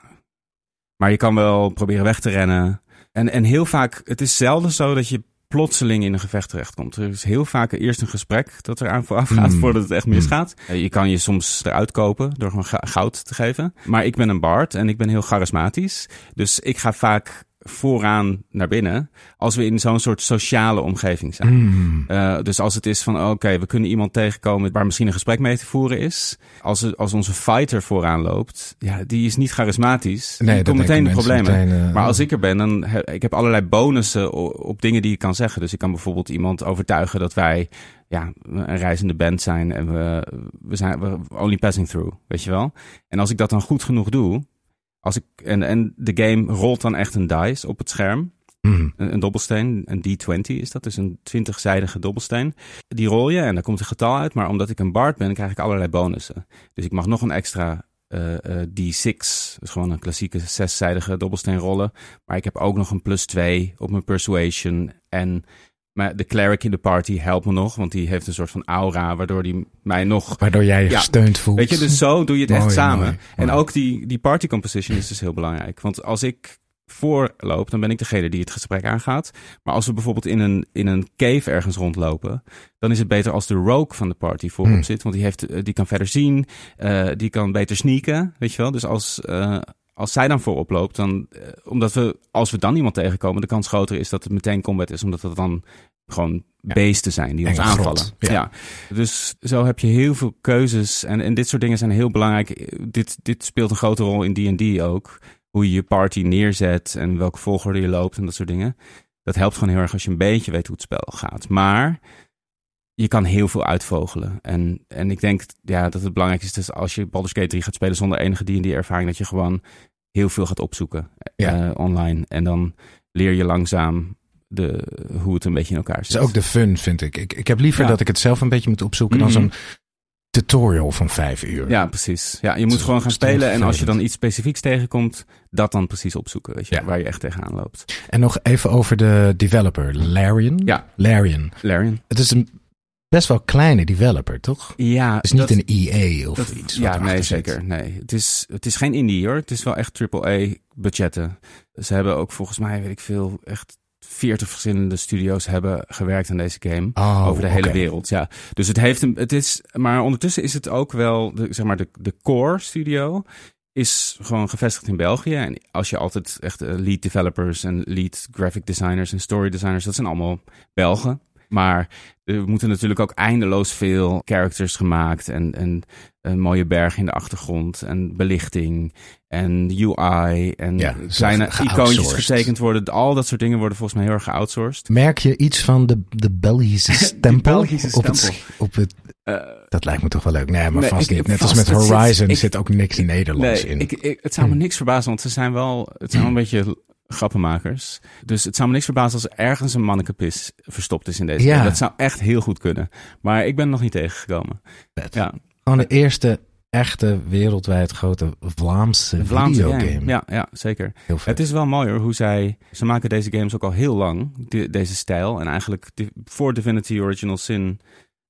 S1: Maar je kan wel proberen weg te rennen. En, en heel vaak, het is zelden zo dat je plotseling in een gevecht terechtkomt. Er is heel vaak eerst een gesprek dat er aan vooraf gaat
S2: Mm.
S1: voordat het echt misgaat. Eh, Hmm. Je kan je soms eruit kopen door gewoon ga- goud te geven. Maar ik ben een bard en ik ben heel charismatisch. Dus ik ga vaak vooraan naar binnen als we in zo'n soort sociale omgeving zijn.
S2: Hmm.
S1: Eh, dus als het is van, oké, we kunnen iemand tegenkomen waar misschien een gesprek mee te voeren is. Als, het- als onze fighter vooraan loopt, ja, die is niet charismatisch.
S2: Nee,
S1: die
S2: dat
S1: komt meteen de
S2: denken mensen
S1: problemen.
S2: meteen, eh,
S1: maar als ik er ben, dan heb ik heb allerlei bonussen o- op dingen die ik kan zeggen. Dus ik kan bijvoorbeeld iemand overtuigen dat wij ja, een reizende band zijn en we, we zijn we only passing through, weet je wel. En als ik dat dan goed genoeg doe, als ik, en, en de game rolt dan echt een dice op het scherm.
S2: Hmm.
S1: Een, een dobbelsteen, een D20 is dat, dus een 20-zijdige dobbelsteen. Die rol je en daar komt een getal uit, maar omdat ik een bard ben, krijg ik allerlei bonussen. Dus ik mag nog een extra eh, eh, D6, dus gewoon een klassieke zeszijdige dobbelsteen rollen. Maar ik heb ook nog een plus 2 op mijn persuasion. En maar de cleric in de party helpt me nog, want die heeft een soort van aura, waardoor die mij nog
S2: Waardoor jij je
S1: Ja.
S2: gesteund voelt.
S1: Weet je, dus zo doe je het echt
S2: Mooi,
S1: samen.
S2: mooi,
S1: En
S2: mooi.
S1: ook die, die party composition is dus heel belangrijk. Want als ik voorloop, dan ben ik degene die het gesprek aangaat. Maar als we bijvoorbeeld in een, in een cave ergens rondlopen, dan is het beter als de rogue van de party voorop
S2: Hmm.
S1: zit. Want die, heeft, eh, die kan verder zien, eh, die kan beter sneaken, weet je wel. Dus als, eh, als zij dan voorop loopt, dan, eh, omdat we, als we dan iemand tegenkomen, de kans groter is dat het meteen combat is. Omdat dat dan gewoon beesten zijn die ons
S2: Enge
S1: aanvallen.
S2: grot, ja.
S1: Ja. Dus zo heb je heel veel keuzes. En, en dit soort dingen zijn heel belangrijk. Dit, dit speelt een grote rol in D&D ook. Hoe je je party neerzet en welke volgorde je loopt en dat soort dingen. Dat helpt gewoon heel erg als je een beetje weet hoe het spel gaat. Maar je kan heel veel uitvogelen. En, en ik denk ja, dat het belangrijk is dus als je Baldur's Gate 3 gaat spelen zonder enige D&D ervaring. Dat je gewoon heel veel gaat opzoeken
S2: Ja.
S1: eh, online. En dan leer je langzaam de, hoe het een beetje in elkaar
S2: Dat
S1: zit.
S2: is Dus ook de fun, vind ik. Ik, ik heb liever
S1: Ja.
S2: dat ik het zelf een beetje moet opzoeken
S1: Mhm.
S2: dan zo'n tutorial van vijf uur.
S1: Ja, precies. Ja, je
S2: Het
S1: moet
S2: is
S1: gewoon gaan
S2: ontzettend
S1: spelen. En als je dan
S2: vervelend.
S1: iets specifieks tegenkomt, dat dan precies opzoeken. Weet je,
S2: Ja.
S1: Waar je echt tegenaan loopt.
S2: En nog even over de developer, Larian.
S1: Ja.
S2: Larian.
S1: Larian.
S2: Het is een best wel kleine developer, toch?
S1: Ja,
S2: Het is niet een EA of iets. wat
S1: Ja,
S2: erachter
S1: nee,
S2: zit.
S1: zeker. Nee. Het, is, het is geen indie hoor. Het is wel echt AAA budgetten. Ze hebben ook volgens mij, weet ik veel, echt 40 verschillende studio's hebben gewerkt aan deze game.
S2: Oh,
S1: over de hele
S2: oké.
S1: wereld, ja. Dus het heeft een, het is, maar ondertussen is het ook wel, de, zeg maar, de, de core studio is gewoon gevestigd in België. En als je altijd echt eh, lead developers en lead graphic designers en story designers, dat zijn allemaal Belgen. Maar er moeten natuurlijk ook eindeloos veel characters gemaakt. En, en een mooie berg in de achtergrond. En belichting. En UI. En
S2: Ja,
S1: kleine
S2: ge-
S1: icoontjes
S2: geoutsourced.
S1: getekend worden. Al dat soort dingen worden volgens mij heel erg geoutsourced.
S2: Merk je iets van de, de Belgische stempel?
S1: Belgische
S2: op het,
S1: stempel.
S2: sch- op het,
S1: Eh,
S2: dat lijkt me toch wel leuk. Nee, maar
S1: Nee,
S2: vast
S1: ik-
S2: niet. Net
S1: vast,
S2: als met
S1: het zit-
S2: Horizon
S1: ik-
S2: zit ook niks Nederlands
S1: nee,
S2: in.
S1: Ik, ik, het zou me niks verbazen, want ze zijn wel, het zijn wel een beetje grappenmakers. Dus het zou me niks verbazen als er ergens een mannekepis verstopt is in deze
S2: Ja.
S1: game. Dat zou echt heel goed kunnen. Maar ik ben er nog niet tegengekomen.
S2: Vet.
S1: Ja,
S2: Gewoon de eerste echte wereldwijd grote Vlaamse,
S1: een Vlaamse
S2: videogame.
S1: game. Ja, ja zeker.
S2: Heel vet.
S1: Het is wel mooi hoor, hoe zij... Ze maken deze games ook al heel lang, de- deze stijl. En eigenlijk di- voor Divinity Original Sin,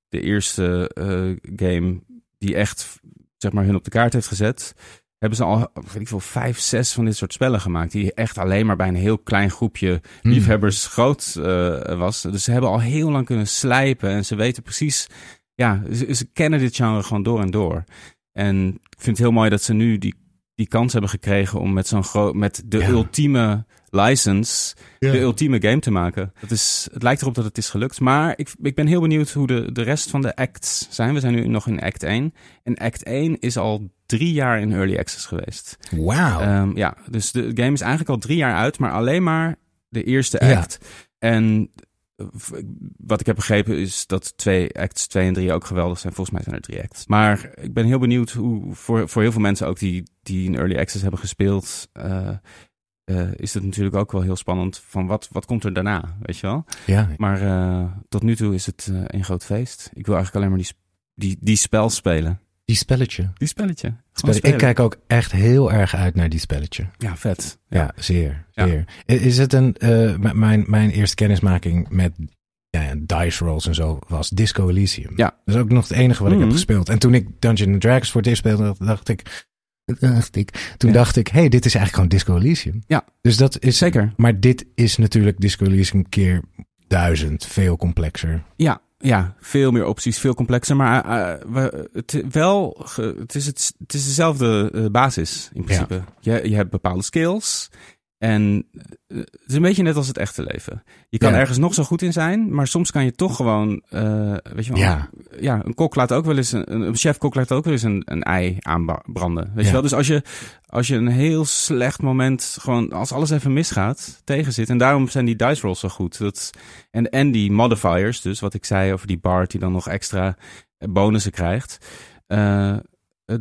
S1: de eerste eh, game die echt zeg maar, hun op de kaart heeft gezet... hebben ze al, weet ik veel, vijf, zes van dit soort spellen gemaakt... die echt alleen maar bij een heel klein groepje
S2: Hmm.
S1: liefhebbers groot eh, was. Dus ze hebben al heel lang kunnen slijpen en ze weten precies... Ja, ze, ze kennen dit genre gewoon door en door. En ik vind het heel mooi dat ze nu die, die kans hebben gekregen om met zo'n gro- met de
S2: Ja.
S1: ultieme license
S2: Ja.
S1: de ultieme game te maken. Dat is, het lijkt erop dat het is gelukt. Maar ik, ik ben heel benieuwd hoe de, de rest van de acts zijn. We zijn nu nog in act 1. En act 1 is al drie jaar in early access geweest.
S2: Wauw.
S1: Ehm, ja, dus de game is eigenlijk al drie jaar uit, maar alleen maar de eerste
S2: Ja.
S1: act. En eh, v- wat ik heb begrepen is dat twee acts 2 en 3 ook geweldig zijn. Volgens mij zijn er drie acts. Maar ik ben heel benieuwd hoe voor, voor heel veel mensen ook die, die in early access hebben gespeeld. eh, eh, is het natuurlijk ook wel heel spannend van wat, wat komt er daarna, weet je wel?
S2: ja.
S1: Maar eh, tot nu toe is het eh, een groot feest. Ik wil eigenlijk alleen maar die, sp- die, die spel spelen.
S2: Die spelletje.
S1: Die spelletje. Gewoon
S2: Spelletje.
S1: spelen.
S2: Ik kijk ook echt heel erg uit naar die spelletje.
S1: Ja, vet.
S2: Ja, zeer.
S1: Ja.
S2: zeer. I- Is het een. eh, m- mijn, mijn eerste kennismaking met ja, dice rolls en zo was Disco Elysium.
S1: Ja.
S2: Dat is ook nog het enige wat ik
S1: Mhm.
S2: heb gespeeld. En toen ik Dungeons and Dragons voor het eerst speelde, dacht- dacht ik. Dacht ik toen
S1: Ja.
S2: dacht ik, hey, dit is eigenlijk gewoon Disco Elysium.
S1: Ja.
S2: Dus dat is.
S1: Zeker.
S2: Maar dit is natuurlijk Disco Elysium keer duizend, veel complexer.
S1: Ja, ja, veel meer opties, veel complexer. Maar eh, we, het, wel, ge- het, is het, het is dezelfde eh, basis in principe. Je, je hebt bepaalde skills. En eh, het is een beetje net als het echte leven. Je kan
S2: Ja.
S1: ergens nog zo goed in zijn, maar soms kan je toch gewoon, eh, weet je wel,
S2: Ja.
S1: ja, een kok laat ook wel eens een, een chef-kok laat ook wel eens een, een ei aanbranden. Weet
S2: Ja.
S1: je wel? Dus als je, als je een heel slecht moment, gewoon als alles even misgaat, tegen zit. En daarom zijn die dice rolls zo goed. Dat, en, en die modifiers, dus wat ik zei over die Bart die dan nog extra bonussen krijgt. Eh,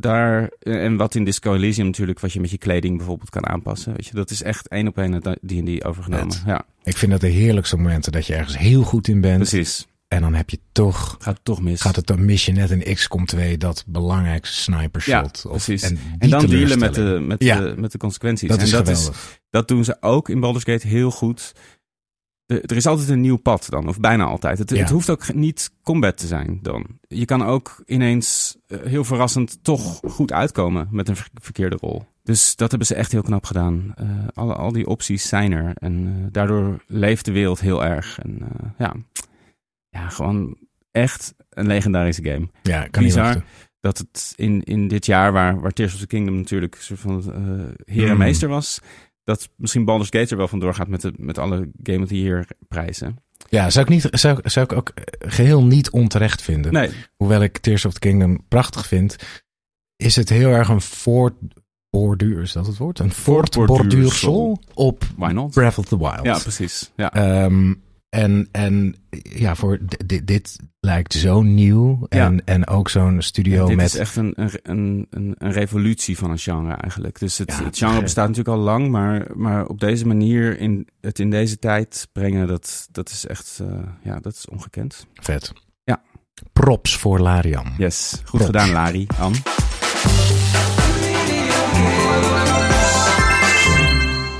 S1: daar, en wat in Disco Elysium natuurlijk, wat je met je kleding bijvoorbeeld kan aanpassen. Weet je, dat is echt één op één het eh, D&D overgenomen.
S2: Vet.
S1: Ja,
S2: Ik vind dat de heerlijkste momenten dat je ergens heel goed in bent.
S1: precies.
S2: En dan heb je toch
S1: Gaat toch mis.
S2: Gaat het dan mis je net een XCOM 2 dat belangrijkste sniper
S1: Ja,
S2: shot? of,
S1: precies.
S2: En,
S1: En,
S2: die
S1: dan dealen met
S2: teleurstelling.
S1: de, met,
S2: Ja.
S1: de, met de consequenties.
S2: Dat
S1: en
S2: is
S1: dat, is,
S2: geweldig.
S1: dat doen ze ook in Baldur's Gate heel goed. De- er is altijd een nieuw pad dan, of bijna altijd. Het,
S2: Ja.
S1: het hoeft ook niet combat te zijn dan. Je kan ook ineens eh, heel verrassend toch goed uitkomen met een ver- verkeerde rol. Dus dat hebben ze echt heel knap gedaan. Eh, alle, al die opties zijn er. En eh, daardoor leeft de wereld heel erg. En eh, ja. ja, gewoon echt een legendarische game
S2: ja, kan niet
S1: bizar.
S2: wachten.
S1: dat het in, in dit jaar, waar, waar Tears of the Kingdom natuurlijk een soort van eh, heer en
S2: Mm.
S1: meester was, dat misschien Baldur's Gate er wel vandoor gaat met, de, met alle Game of the Year prijzen.
S2: Ja, zou ik, niet, zou, ik- zou ik ook eh, geheel niet onterecht vinden.
S1: Nee,
S2: Hoewel ik Tears of the Kingdom prachtig vind, is het heel erg een voortborduur, is dat het woord? Een voortborduursel op
S1: why not?
S2: Breath of the Wild.
S1: Ja, precies. Ja.
S2: Ehm, en, en ja, voor di- dit, dit lijkt zo nieuw.
S1: Ja.
S2: En, en ook zo'n studio
S1: Dit
S2: met
S1: is echt een, een, een, een- een revolutie van een genre eigenlijk. Dus het,
S2: Ja,
S1: het
S2: ge-
S1: genre bestaat natuurlijk al lang, maar, maar op deze manier in, het in deze tijd brengen, dat, dat is echt eh, ja, dat is ongekend.
S2: vet.
S1: Ja.
S2: Props voor Larian.
S1: Yes, goed
S2: Props.
S1: gedaan Larry, An.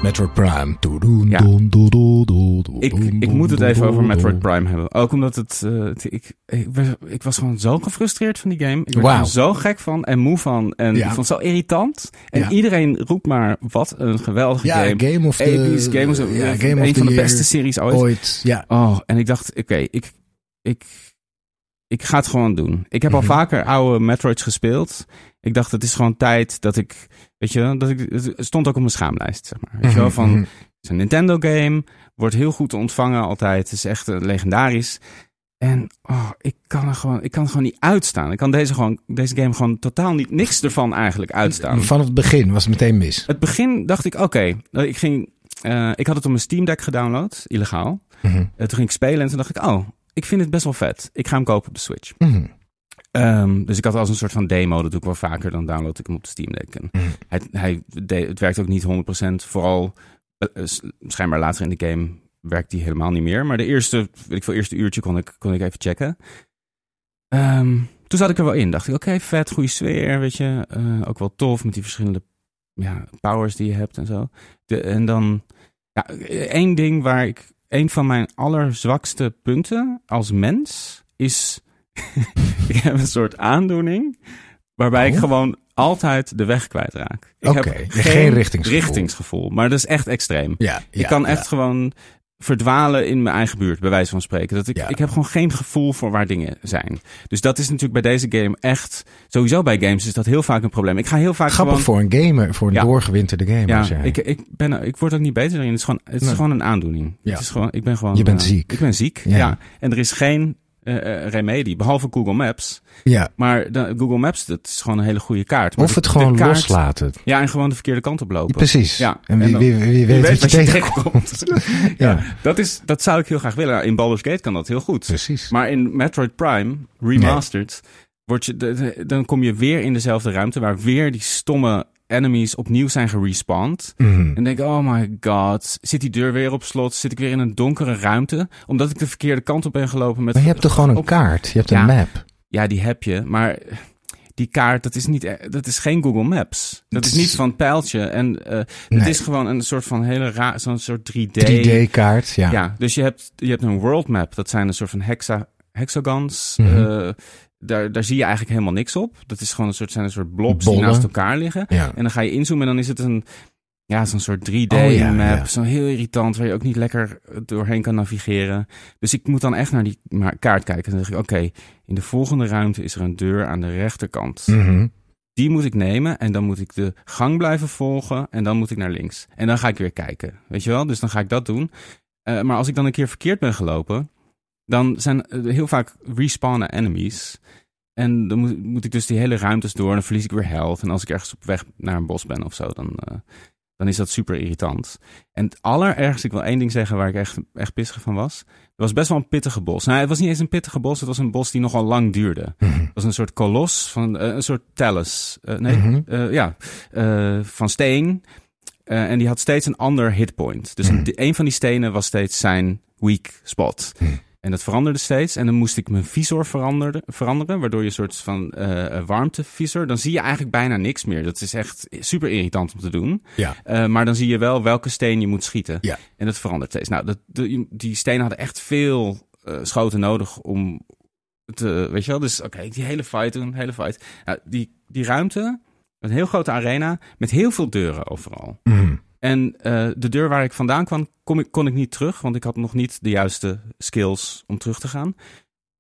S2: Metroid Prime. Doedoen,
S1: Ja.
S2: doen, doe, doe, doe, doe,
S1: Ik,
S2: doen,
S1: ik
S2: doen,
S1: moet het
S2: doe,
S1: even
S2: doe,
S1: over
S2: doe.
S1: Metroid Prime hebben. Ook omdat het. eh, het- ik, ik, was- ik was gewoon zo gefrustreerd van die game. Ik werd
S2: Wauw.
S1: er zo gek van en moe van. En
S2: Ja.
S1: ik vond het zo irritant. En
S2: Ja.
S1: iedereen roept maar: wat een geweldige
S2: Ja,
S1: game.
S2: Game, of the...
S1: Episch, Game of the-
S2: ja,
S1: eh,
S2: Game
S1: een
S2: of the
S1: van de
S2: Year
S1: beste series ooit.
S2: ooit. Ja,
S1: Oh, en ik dacht: oké, ik, ik, ik ga het gewoon doen. Ik heb
S2: Mhm.
S1: al vaker oude Metroids gespeeld. Ik dacht: het is gewoon tijd dat ik. Weet je, wel, dat ik, het stond ook op mijn schaamlijst. Zeg maar. Weet je wel, van,
S2: Mhm, mhm.
S1: is een Nintendo game. Wordt heel goed ontvangen altijd. Het is echt eh, legendarisch. En oh, ik, kan er gewoon, ik kan er gewoon niet uitstaan. Ik kan deze, gewoon, deze game gewoon totaal niet, niks ervan eigenlijk uitstaan.
S2: Vanaf het begin was het meteen mis.
S1: Het begin dacht ik, oké, nou, ik ging, eh, ik had het op mijn Steam Deck gedownload, illegaal.
S2: Mhm.
S1: Eh, toen ging ik spelen en toen dacht ik, oh, ik vind het best wel vet. Ik ga hem kopen op de Switch.
S2: Mhm.
S1: Ehm, dus ik had als een soort van demo, dat doe ik wel vaker, dan download ik hem op de Steam Deck. En
S2: Mhm.
S1: hij, hij deed- het werkt ook niet 100%, vooral eh, eh, s- schijnbaar later in de game werkt die helemaal niet meer. Maar de eerste, weet ik veel, eerste uurtje kon ik, kon ik even checken. Ehm, toen zat ik er wel in, dacht ik, oké, vet, goede sfeer, weet je. Eh, ook wel tof met die verschillende ja, powers die je hebt en zo. De, en dan, ja, één ding waar ik, één van mijn allerzwakste punten als mens is... Ik heb een soort aandoening waarbij ik
S2: Oh.
S1: gewoon altijd de weg kwijtraak. Ik
S2: Oké,
S1: heb
S2: geen richtingsgevoel.
S1: richtingsgevoel, Maar dat is echt extreem.
S2: Ja,
S1: ik
S2: ja,
S1: kan
S2: ja.
S1: echt gewoon verdwalen in mijn eigen buurt, bij wijze van spreken. Dat ik,
S2: Ja.
S1: ik heb gewoon geen gevoel voor waar dingen zijn. Dus dat is natuurlijk bij deze game echt... Sowieso bij games is dat heel vaak een probleem. Ik ga heel vaak
S2: Grappig
S1: gewoon...
S2: voor een gamer, voor een
S1: Ja.
S2: doorgewinterde gamer.
S1: Ja,
S2: zeg.
S1: ik, ik, ben, ik word ook niet beter erin. Het is gewoon, het is
S2: Nee.
S1: gewoon een aandoening.
S2: Ja.
S1: Het is gewoon, ik ben gewoon,
S2: Je bent
S1: eh,
S2: ziek.
S1: Ik ben ziek,
S2: Ja.
S1: ja. En er is geen eh, eh, remedie, behalve Google Maps.
S2: ja.
S1: Maar de- Google Maps, dat is gewoon een hele goede kaart. Maar
S2: Of
S1: de-
S2: het
S1: de
S2: gewoon
S1: kaart-
S2: loslaten.
S1: Ja, en gewoon de verkeerde kant op lopen.
S2: Precies.
S1: Ja.
S2: En wie,
S1: dan-
S2: wie, wie weet wat je tegenkomt. ja.
S1: ja. dat, is, dat zou ik heel graag willen. Nou, In Baldur's Gate kan dat heel goed.
S2: precies.
S1: Maar in Metroid Prime, remastered, word je, de- de- dan kom je weer in dezelfde ruimte... waar weer die stomme enemies opnieuw zijn gerespawned.
S2: Mhm.
S1: En denk, oh my god, zit die deur weer op slot? Zit ik weer in een donkere ruimte? Omdat ik de verkeerde kant op ben gelopen met...
S2: Maar je hebt toch gewoon een
S1: op-
S2: kaart? Je hebt een
S1: Ja.
S2: map.
S1: Ja, die heb je, maar die kaart, dat is, niet, e- dat is geen Google Maps. Dat is niet van pijltje. En eh, het
S2: Nee.
S1: is gewoon een soort van hele raar, zo'n soort 3D...
S2: 3D-kaart, ja.
S1: Ja. dus je hebt, je hebt een world map. Dat zijn een soort van hexa, hexagons.
S2: Mhm.
S1: Eh, daar, daar zie je eigenlijk helemaal niks op. Dat is gewoon een soort, zijn een soort blobs
S2: Bollen.
S1: die naast elkaar liggen.
S2: Ja.
S1: En dan ga je inzoomen en dan is het een... Ja, zo'n soort 3D-map.
S2: Oh, ja, ja.
S1: Zo'n heel irritant, waar je ook niet lekker eh, doorheen kan navigeren. Dus ik moet dan echt naar die ma- kaart kijken. En dan zeg ik, oké, in de volgende ruimte is er een deur aan de rechterkant.
S2: Mhm.
S1: Die moet ik nemen en dan moet ik de gang blijven volgen en dan moet ik naar links. En dan ga ik weer kijken, weet je wel? Dus dan ga ik dat doen. Eh, maar als ik dan een keer verkeerd ben gelopen, dan zijn eh, heel vaak respawnen enemies. En dan moet, moet ik dus die hele ruimtes door en dan verlies ik weer health. En als ik ergens op weg naar een bos ben of zo, dan, eh, dan is dat super irritant. En het allerergste, ik wil één ding zeggen waar ik echt, echt pissig van was. Het was best wel een pittige bos. Nou, het was niet eens een pittige bos, het was een bos die nogal lang duurde.
S2: Mhm.
S1: Dat was een soort kolos, van, eh, een soort talus. Eh, nee,
S2: Mhm.
S1: eh, ja, eh, van steen. Eh, en die had steeds een ander hitpoint. Dus
S2: Mhm.
S1: de- een van die stenen was steeds zijn weak spot.
S2: Mhm.
S1: En dat veranderde steeds. En dan moest ik mijn visor veranderen, veranderen waardoor je een soort van eh warmtevisor... Dan zie je eigenlijk bijna niks meer. Dat is echt super irritant om te doen.
S2: Ja.
S1: Eh, maar dan zie je wel welke steen je moet schieten.
S2: Ja.
S1: En dat verandert steeds. Nou, dat, de- die stenen hadden echt veel eh, schoten nodig om te... Weet je wel? Dus oké, die hele fight doen, hele fight. Nou, die, die ruimte, een heel grote arena met heel veel deuren overal.
S2: Mhm.
S1: En eh, de deur waar ik vandaan kwam, kom ik, kon ik niet terug, want ik had nog niet de juiste skills om terug te gaan.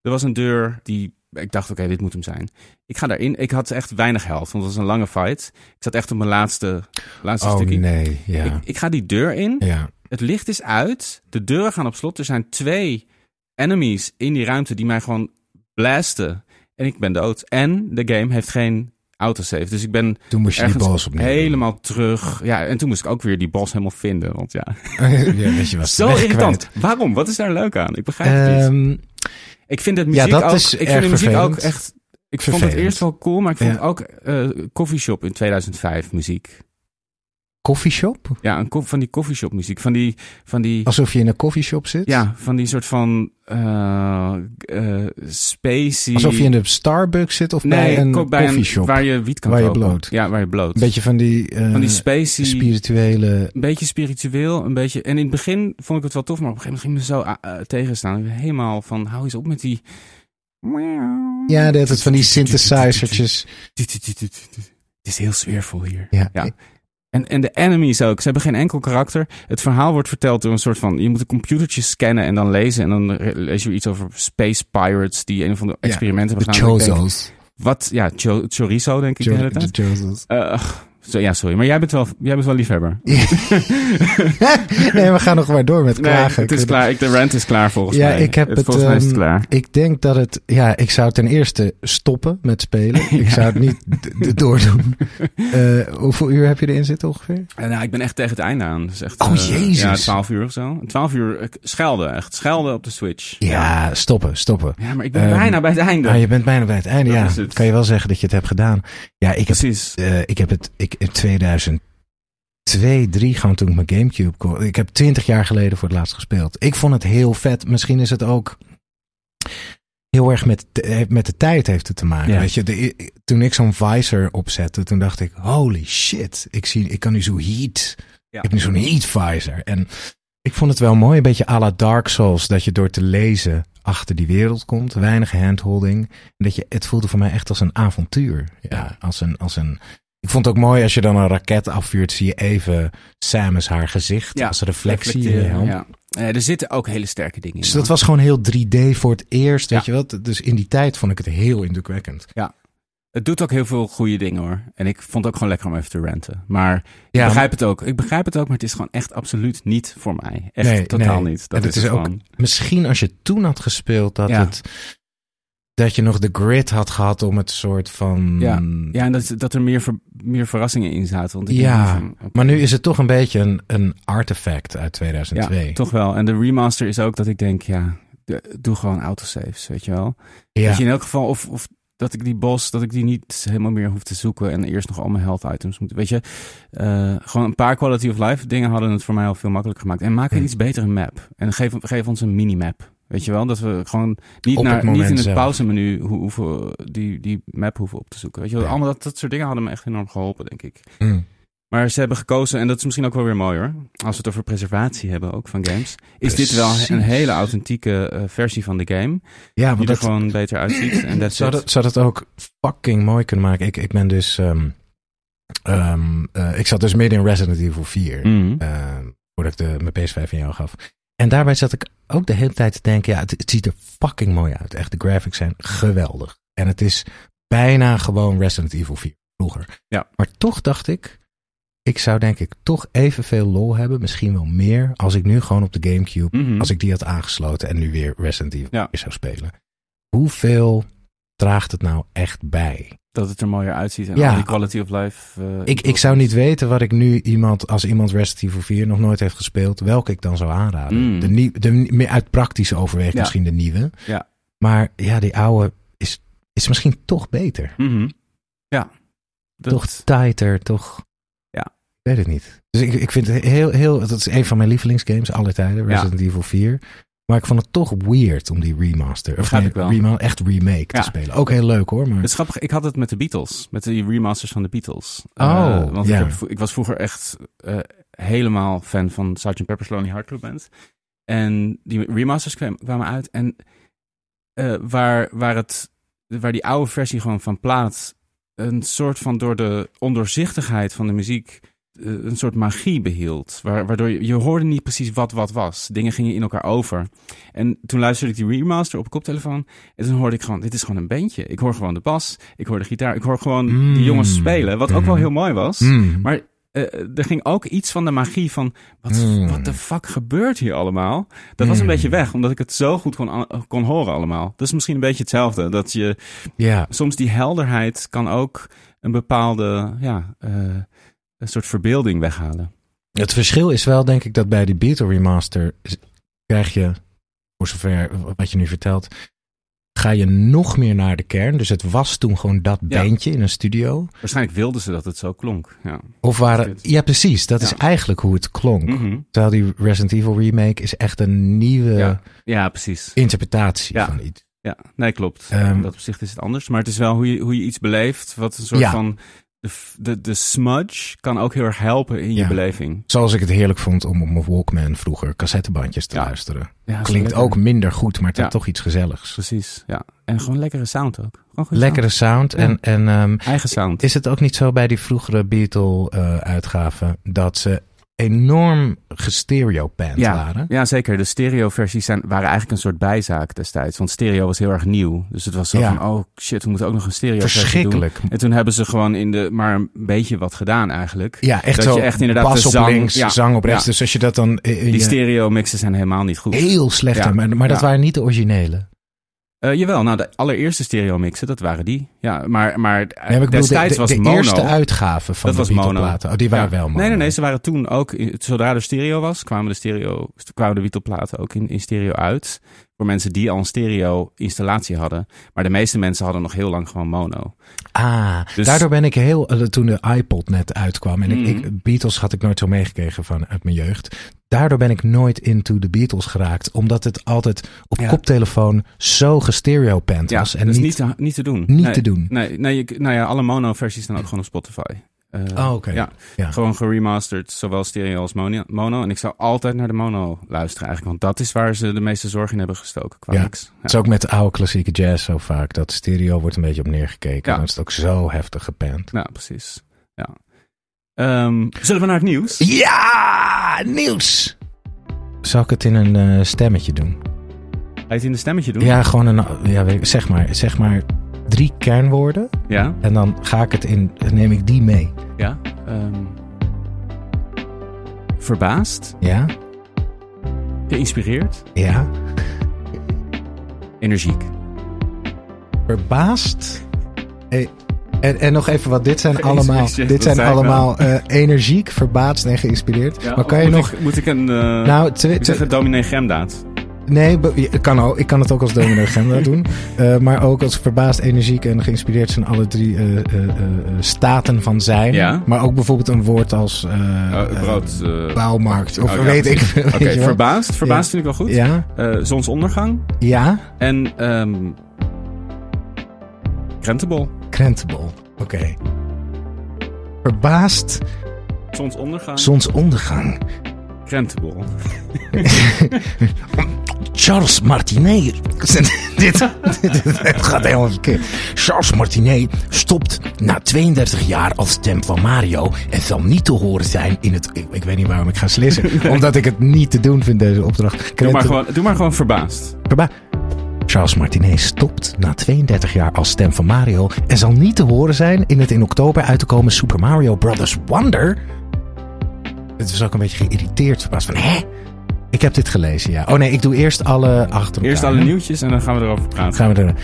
S1: Er was een deur die, ik dacht, oké, dit moet hem zijn. Ik ga daarin, ik had echt weinig helft, want het was een lange fight. Ik zat echt op mijn laatste, laatste
S2: Oh
S1: stukje.
S2: nee, ja.
S1: Ik, ik ga die deur in,
S2: ja.
S1: het licht is uit, de deuren gaan op slot. Er zijn twee enemies in die ruimte die mij gewoon blasten. En ik ben dood. En de game heeft geen autosave, dus ik ben
S2: Toen moest je die
S1: ergens
S2: boos opnemen.
S1: helemaal terug. Ja, en toen moest ik ook weer die bos helemaal vinden. Want ja,
S2: ja, weet je wat?
S1: zo
S2: weg
S1: irritant.
S2: kwijt.
S1: Waarom? Wat is daar leuk aan? Ik begrijp het niet.
S2: Ehm,
S1: Ik vind de muziek,
S2: dat
S1: ook,
S2: is
S1: ik
S2: erg
S1: vind de muziek ook
S2: vervelend.
S1: echt... Ik vond
S2: Vervelend.
S1: het eerst wel cool, maar ik vond
S2: Ja.
S1: ook eh Coffeeshop in 2005 muziek.
S2: Koffieshop?
S1: Ja, een, ko- van die coffeeshop muziek. Van die, van die,
S2: Alsof je in een koffieshop zit?
S1: ja, van die soort van eh eh spacey...
S2: Alsof je in de Starbucks zit of bij een
S1: ko-
S2: koffieshop?
S1: waar je wiet kan
S2: Waar je
S1: kopen.
S2: bloot.
S1: Ja, waar je bloot.
S2: Een beetje van die, eh,
S1: van die spacey...
S2: spirituele...
S1: een beetje spiritueel, een beetje... En in het begin vond ik het wel tof, maar op een gegeven moment ging me zo eh, eh, tegenstaan. Ik ben helemaal van, hou eens op met die...
S2: Ja, dat het van die synthesizertjes.
S1: Het is heel sfeervol hier.
S2: Ja.
S1: En, en de enemies ook. Ze hebben geen enkel karakter. Het verhaal wordt verteld door een soort van... Je moet een computertje scannen en dan lezen. En dan re- lees je iets over space pirates... die een van de
S2: Ja,
S1: experimenten
S2: De
S1: hebben gedaan. En ik denk,
S2: Chozos.
S1: Wat? Ja, cho- chorizo denk ik de hele tijd.
S2: De Chozos.
S1: Eh, ugh, Zo, ja, sorry. Maar jij bent wel, jij bent wel liefhebber.
S2: nee, we gaan nog maar door met
S1: Nee,
S2: klagen.
S1: het is klaar. Ik, de rant is klaar volgens
S2: Ja,
S1: mij.
S2: ik heb het,
S1: volgens mij is het
S2: ehm,
S1: klaar.
S2: Ik denk dat het. Ja, ik zou ten eerste stoppen met spelen. Ik zou het niet d- d- doordoen. Eh, hoeveel uur heb je erin zitten ongeveer?
S1: Eh, nou, ik ben echt tegen het einde aan. Dus echt,
S2: Oh,
S1: eh,
S2: jezus.
S1: Ja, 12 uur of zo. 12 uur eh, schelden, echt. Schelden op de Switch.
S2: Ja, stoppen, stoppen.
S1: Ja, maar ik ben
S2: Ehm,
S1: bijna bij het einde.
S2: Ah, je bent bijna bij het einde.
S1: Dat
S2: Ja,
S1: is het.
S2: kan je wel zeggen dat je het hebt gedaan. Ja, ik heb,
S1: Precies.
S2: eh, ik heb het ik, in 2002, 3 gewoon toen ik mijn Gamecube kon. Ik heb 20 jaar geleden voor het laatst gespeeld. Ik vond het heel vet. Misschien is het ook heel erg met, de- met de tijd heeft het te maken.
S1: Ja.
S2: Weet je, de- toen ik zo'n visor opzette, toen dacht ik, holy shit, ik, zie, ik kan nu zo heat.
S1: Ja.
S2: Ik heb nu zo'n heat visor. En ik vond het wel mooi, een beetje à la Dark Souls, dat je door te lezen achter die wereld komt, weinig handholding. En dat je, het voelde voor mij echt als een avontuur. Ja, Als, een, als een. Ik vond het ook mooi als je dan een raket afvuurt, zie je even Samus haar gezicht als reflectie. in je helm.
S1: Ja. Eh, er zitten ook hele sterke dingen in.
S2: Dus dat was gewoon heel 3D voor het eerst, weet
S1: Ja.
S2: je wel. Dus in die tijd vond ik het heel indrukwekkend.
S1: Het doet ook heel veel goede dingen hoor. En ik vond het ook gewoon lekker om even te ranten. Maar ik
S2: Ja,
S1: begrijp het ook. Ik begrijp het ook, maar het is gewoon echt absoluut niet voor mij. Echt
S2: Nee,
S1: totaal
S2: nee.
S1: niet.
S2: En
S1: Dat
S2: het
S1: is,
S2: is ook-
S1: gewoon...
S2: Misschien als je toen had gespeeld, dat,
S1: Ja.
S2: het, dat je nog de grid had gehad om het soort van...
S1: Ja, en dat, dat er meer, ver- meer verrassingen in zaten. Want ik
S2: Ja,
S1: denk van, oké.
S2: Maar nu is het toch een beetje een, een artefact uit 2002.
S1: Ja, toch wel. En de remaster is ook dat ik denk, ja, de- doe gewoon autosaves, weet je wel.
S2: Ja.
S1: Dat dus je in elk geval, of, of dat ik die boss, dat ik die niet helemaal meer hoef te zoeken en eerst nog al mijn health items moet. Weet je, eh, gewoon een paar quality of life dingen hadden het voor mij al veel makkelijker gemaakt. En maak een
S2: Hmm.
S1: iets betere map. En geef, geef ons een minimap. Weet je wel, dat we gewoon niet,
S2: Op het
S1: naar, niet
S2: moment
S1: in het
S2: zelf.
S1: pauzemenu ho- hoeven, die, die map hoeven op te zoeken. Weet je wel,
S2: Ja.
S1: allemaal dat, dat soort dingen hadden me echt enorm geholpen, denk ik.
S2: Mm.
S1: Maar ze hebben gekozen, en dat is misschien ook wel weer mooi hoor. Als we het over preservatie hebben ook van games. Is dit wel
S2: Precies.
S1: een hele authentieke eh, versie van de game.
S2: Ja,
S1: Die
S2: want
S1: er
S2: dat,
S1: gewoon beter uitziet. En that's
S2: zou,
S1: it.
S2: dat, zou dat ook fucking mooi kunnen maken. Ik, ik ben dus... ehm, ehm, eh, ik zat dus midden in Resident Evil 4.
S1: Mhm.
S2: eh, voordat ik de, mijn PS5 aan jou gaf. En daarbij zat ik ook de hele tijd te denken, ja, het, het ziet er fucking mooi uit. Echt, de graphics zijn geweldig. En het is bijna gewoon Resident Evil 4 vroeger.
S1: Ja.
S2: Maar toch dacht ik, ik zou denk ik toch evenveel lol hebben, misschien wel meer, als ik nu gewoon op de Gamecube,
S1: Mhm.
S2: als ik die had aangesloten en nu weer Resident Evil
S1: Ja.
S2: 4 zou spelen. Hoeveel draagt het nou echt bij?
S1: Dat het er mooier uitziet. En
S2: Ja.
S1: al die quality of life. eh,
S2: Ik, ik zou niet weten wat ik nu iemand, als iemand Resident Evil 4 nog nooit heeft gespeeld, welke ik dan zou aanraden.
S1: Mm.
S2: De nieuw, de, meer uit praktische overweging
S1: Ja.
S2: misschien de nieuwe.
S1: Ja.
S2: Maar ja, die oude is, is misschien toch beter.
S1: Mhm. Ja. Dat-
S2: Toch tighter, toch...
S1: Ja.
S2: Ik weet het niet. Dus ik, ik vind het heel, heel... Dat is een van mijn lievelingsgames aller tijden, Resident Evil 4. Maar ik vond het toch weird om die remaster, of
S1: Begrijp
S2: nee,
S1: ik wel.
S2: rema- echt remake
S1: Ja.
S2: te spelen. Ook heel leuk hoor, maar...
S1: Het is grappig, ik had het met de Beatles. Met die remasters van de Beatles.
S2: Oh,
S1: Eh, want
S2: ja.
S1: ik, heb vro- ik was vroeger echt eh, helemaal fan van Sgt. Pepper's Lonely Heart Club Band. En die remasters kwam- kwamen uit. En eh, waar, waar, het, waar die oude versie gewoon van plaat... een soort van door de ondoorzichtigheid van de muziek... eh, een soort magie behield. Waar, waardoor je, je hoorde niet precies wat wat was. Dingen gingen in elkaar over. En toen luisterde ik die remaster op koptelefoon... En toen hoorde ik gewoon, dit is gewoon een bandje. Ik hoor gewoon de bas, ik hoor de gitaar, ik hoor gewoon
S2: Mm.
S1: die jongens spelen. Wat ook wel heel mooi was.
S2: Mm.
S1: Maar eh, er ging ook iets van de magie van, wat
S2: Mm.
S1: wat de fuck gebeurt hier allemaal? Dat was een
S2: Mm.
S1: beetje weg, omdat ik het zo goed kon, a- kon horen allemaal. Dat is misschien een beetje hetzelfde. Dat je
S2: ja.
S1: soms die helderheid kan ook een bepaalde, ja, eh, een soort verbeelding weghalen.
S2: Het verschil is wel, denk ik, dat bij die Beatle Remaster is- krijg je, voor zover wat je nu vertelt, ga je nog meer naar de kern. Dus het was toen gewoon dat
S1: Ja.
S2: bandje in een studio.
S1: Waarschijnlijk wilden ze dat het zo klonk. Ja.
S2: Of waren,
S1: Shit.
S2: ja, precies. Dat
S1: Ja.
S2: is eigenlijk hoe het klonk.
S1: Mhm.
S2: Terwijl die Resident Evil remake is echt een nieuwe
S1: ja. ja, precies.
S2: interpretatie
S1: Ja.
S2: van iets.
S1: Ja, nee, klopt.
S2: Ehm,
S1: In dat opzicht is het anders. Maar het is wel hoe je, hoe je iets beleeft. Wat een soort
S2: Ja.
S1: van. De, f- de, de smudge kan ook heel erg helpen in je
S2: Ja.
S1: beleving.
S2: Zoals ik het heerlijk vond om op mijn Walkman vroeger cassettebandjes te
S1: Ja.
S2: luisteren.
S1: Ja,
S2: Klinkt ook minder goed, maar het had
S1: Ja.
S2: toch iets gezelligs.
S1: Precies, ja. En gewoon lekkere sound ook. Gewoon goede
S2: Lekkere sound en, en ehm,
S1: sound. Eigen sound.
S2: Is het ook niet zo bij die vroegere Beatle-uitgaven dat ze enorm gestereopand
S1: ja,
S2: waren.
S1: Ja, zeker. De stereo-versies zijn, waren eigenlijk een soort bijzaak destijds. Want stereo was heel erg nieuw. Dus het was zo
S2: Ja.
S1: van, oh shit, we moeten ook nog een stereo-versie doen.
S2: Verschrikkelijk.
S1: En toen hebben ze gewoon in de, maar een beetje wat gedaan eigenlijk.
S2: Ja, echt
S1: dat
S2: zo.
S1: je echt inderdaad
S2: bas
S1: de
S2: op
S1: zang-
S2: links,
S1: ja,
S2: zang op rechts.
S1: ja.
S2: Dus als je dat dan... eh, eh,
S1: Die
S2: je-
S1: stereo-mixen zijn helemaal niet goed.
S2: heel slecht
S1: Ja,
S2: aan, maar, maar dat
S1: ja.
S2: waren niet de originele.
S1: Eh, jawel, nou de allereerste stereo-mixen, dat waren die. Ja, maar, maar
S2: Nee, maar ik bedoel, de,
S1: destijds
S2: de,
S1: was
S2: de
S1: mono.
S2: eerste uitgave van
S1: dat was
S2: de
S1: mono.
S2: Beatle-platen. Oh, die waren
S1: Ja.
S2: wel mono.
S1: Nee, nee, nee. Ze waren toen ook, in- zodra er stereo was, kwamen de, stereo, kwamen de Beatle-platen ook in, in stereo uit. Voor mensen die al een stereo-installatie hadden. Maar de meeste mensen hadden nog heel lang gewoon mono.
S2: Ah,
S1: Dus-
S2: daardoor ben ik heel... eh, toen de iPod net uitkwam... en
S1: Mhm.
S2: ik, ik- Beatles had ik nooit zo meegekregen van, uit mijn jeugd. Daardoor ben ik nooit into de Beatles geraakt. Omdat het altijd op
S1: Ja.
S2: koptelefoon zo gestereopand
S1: Ja,
S2: was. En
S1: dat is dus
S2: niet...
S1: niet, te, niet te doen.
S2: niet
S1: Nee,
S2: te doen.
S1: Nee, nee, je- nou ja, alle mono-versies staan ook gewoon op Spotify. Eh,
S2: Oh, oké.
S1: Ja,
S2: Ja.
S1: gewoon geremasterd, zowel stereo als mono, mono. En ik zou altijd naar de mono luisteren eigenlijk. Want dat is waar ze de meeste zorg in hebben gestoken qua
S2: Ja.
S1: mix. Ja.
S2: Het is ook met de oude klassieke jazz zo vaak. Dat stereo wordt een beetje op neergekeken.
S1: Ja.
S2: Dan is het ook zo heftig gepand.
S1: Ja, precies. Ja. Ehm, zullen we naar het nieuws?
S2: Ja, nieuws! Zal ik het in een eh, stemmetje doen?
S1: Ga je het in de stemmetje doen?
S2: Ja, gewoon een. Ja, weet ik- zeg, maar, zeg maar drie kernwoorden.
S1: Ja?
S2: En dan ga ik het in. Neem ik die mee.
S1: Ja. ehm, verbaasd,
S2: Ja?
S1: geïnspireerd,
S2: Ja?
S1: energiek.
S2: Verbaasd. Eh, En, en nog even wat. Dit zijn
S1: Jezus,
S2: allemaal.
S1: jezus,
S2: Dit
S1: dat
S2: zijn
S1: zei ik wel.
S2: allemaal eh, energiek, verbaasd en geïnspireerd. maar kan je
S1: moet
S2: nog.
S1: Ik, moet ik een... eh
S2: nou, twee-
S1: ik zeg
S2: twee-
S1: het dominee Gemdaad.
S2: nee, be- je- kan ook, ik kan het ook als dominee Gemda doen. Eh, maar ook als verbaasd, energiek en geïnspireerd zijn alle drie eh, eh, eh, eh, staten van zijn.
S1: Ja.
S2: Maar ook bijvoorbeeld een woord als eh,
S1: Eh, brood... eh,
S2: eh, bouwmarkt. Of
S1: oh, ja,
S2: weet ik.
S1: precies.
S2: weet
S1: Oké,
S2: je wel.
S1: verbaasd. Verbaasd vind ik wel goed.
S2: Ja,
S1: Eh, zonsondergang.
S2: ja.
S1: En... ehm krentenbol.
S2: Krentenbol. Oké. Verbaasd
S1: Zonsondergang.
S2: zonsondergang.
S1: krentenbol.
S2: Charles Martinet. dit, dit, dit gaat helemaal verkeerd. Charles Martinet stopt na 32 jaar als stem van Mario. En zal niet te horen zijn in het. Ik, ik weet niet waarom ik ga slissen. Omdat ik het niet te doen vind, deze opdracht.
S1: Doe maar,
S2: Krenten-
S1: gewoon, doe maar gewoon verbaasd.
S2: Verba- Charles Martinet stopt na 32 jaar als stem van Mario en zal niet te horen zijn in het in oktober uit te komen Super Mario Bros. Wonder. Het was ook een beetje geïrriteerd verbaasd van, hè? Ik heb dit gelezen, ja. Oh nee, ik doe eerst alle achter elkaar.
S1: Eerst alle nieuwtjes en dan gaan we erover praten.
S2: Gaan we er...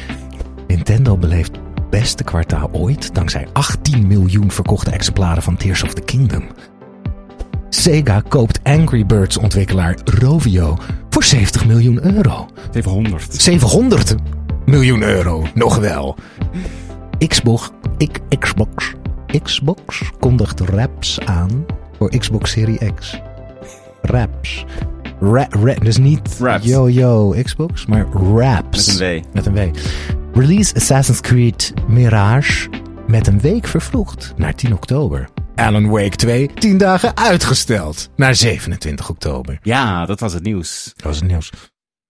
S2: Nintendo beleeft beste kwartaal ooit dankzij 18 miljoen verkochte exemplaren van Tears of the Kingdom. Sega koopt Angry Birds ontwikkelaar Rovio voor 70 miljoen euro.
S1: 700.
S2: 700 miljoen euro, nog wel. Xbox, ik, Xbox, Xbox kondigt raps aan voor Xbox Series X. Raps. Ra, ra- dus niet
S1: Raps.
S2: yo yo Xbox, maar raps.
S1: Met een W.
S2: Met een W. Release Assassin's Creed Mirage met een week vervroegd naar 10 oktober. Alan Wake 2 10 dagen uitgesteld naar 27 oktober.
S1: Ja, dat was het nieuws.
S2: Dat was het nieuws.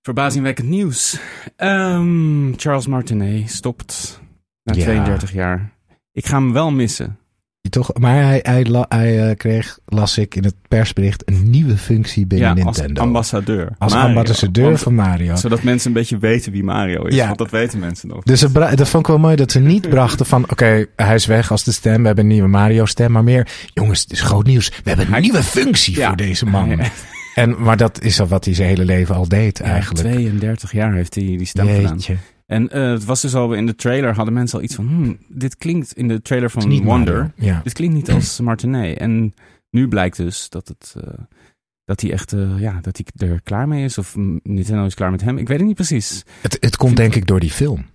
S1: Verbazingwekkend nieuws. Ehm, Charles Martinet stopt na
S2: Ja.
S1: 32 jaar. Ik ga hem wel missen.
S2: Die toch, maar hij, hij, la- hij eh, kreeg, las ik in het persbericht, een nieuwe functie binnen
S1: ja, als
S2: Nintendo.
S1: ambassadeur.
S2: Als
S1: Mario.
S2: ambassadeur
S1: Want-
S2: van Mario.
S1: Zodat mensen een beetje weten wie Mario is.
S2: Ja.
S1: Want dat weten mensen nog.
S2: Dus ze bra- dat vond ik wel mooi dat ze niet brachten van... oké, hij is weg als de stem, we hebben een nieuwe Mario-stem. Maar meer, jongens, het is groot nieuws. We hebben een
S1: Hij-
S2: nieuwe functie
S1: Ja.
S2: voor deze man.
S1: Ja.
S2: En, maar dat is al wat hij zijn hele leven al deed eigenlijk.
S1: 32 jaar heeft hij die stem gedaan.
S2: Jeetje.
S1: En eh, het was dus al in de trailer, hadden mensen al iets van... hmm, dit klinkt in de trailer
S2: Het
S1: van
S2: is niet
S1: Wonder.
S2: Mario. Ja.
S1: Dit klinkt niet als Martinet. En nu blijkt dus dat het. eh, dat hij echt, eh, ja, dat hij er klaar mee is. Of mm, Nintendo is klaar met hem. Ik weet het niet precies.
S2: Het, het komt denk ik door die film.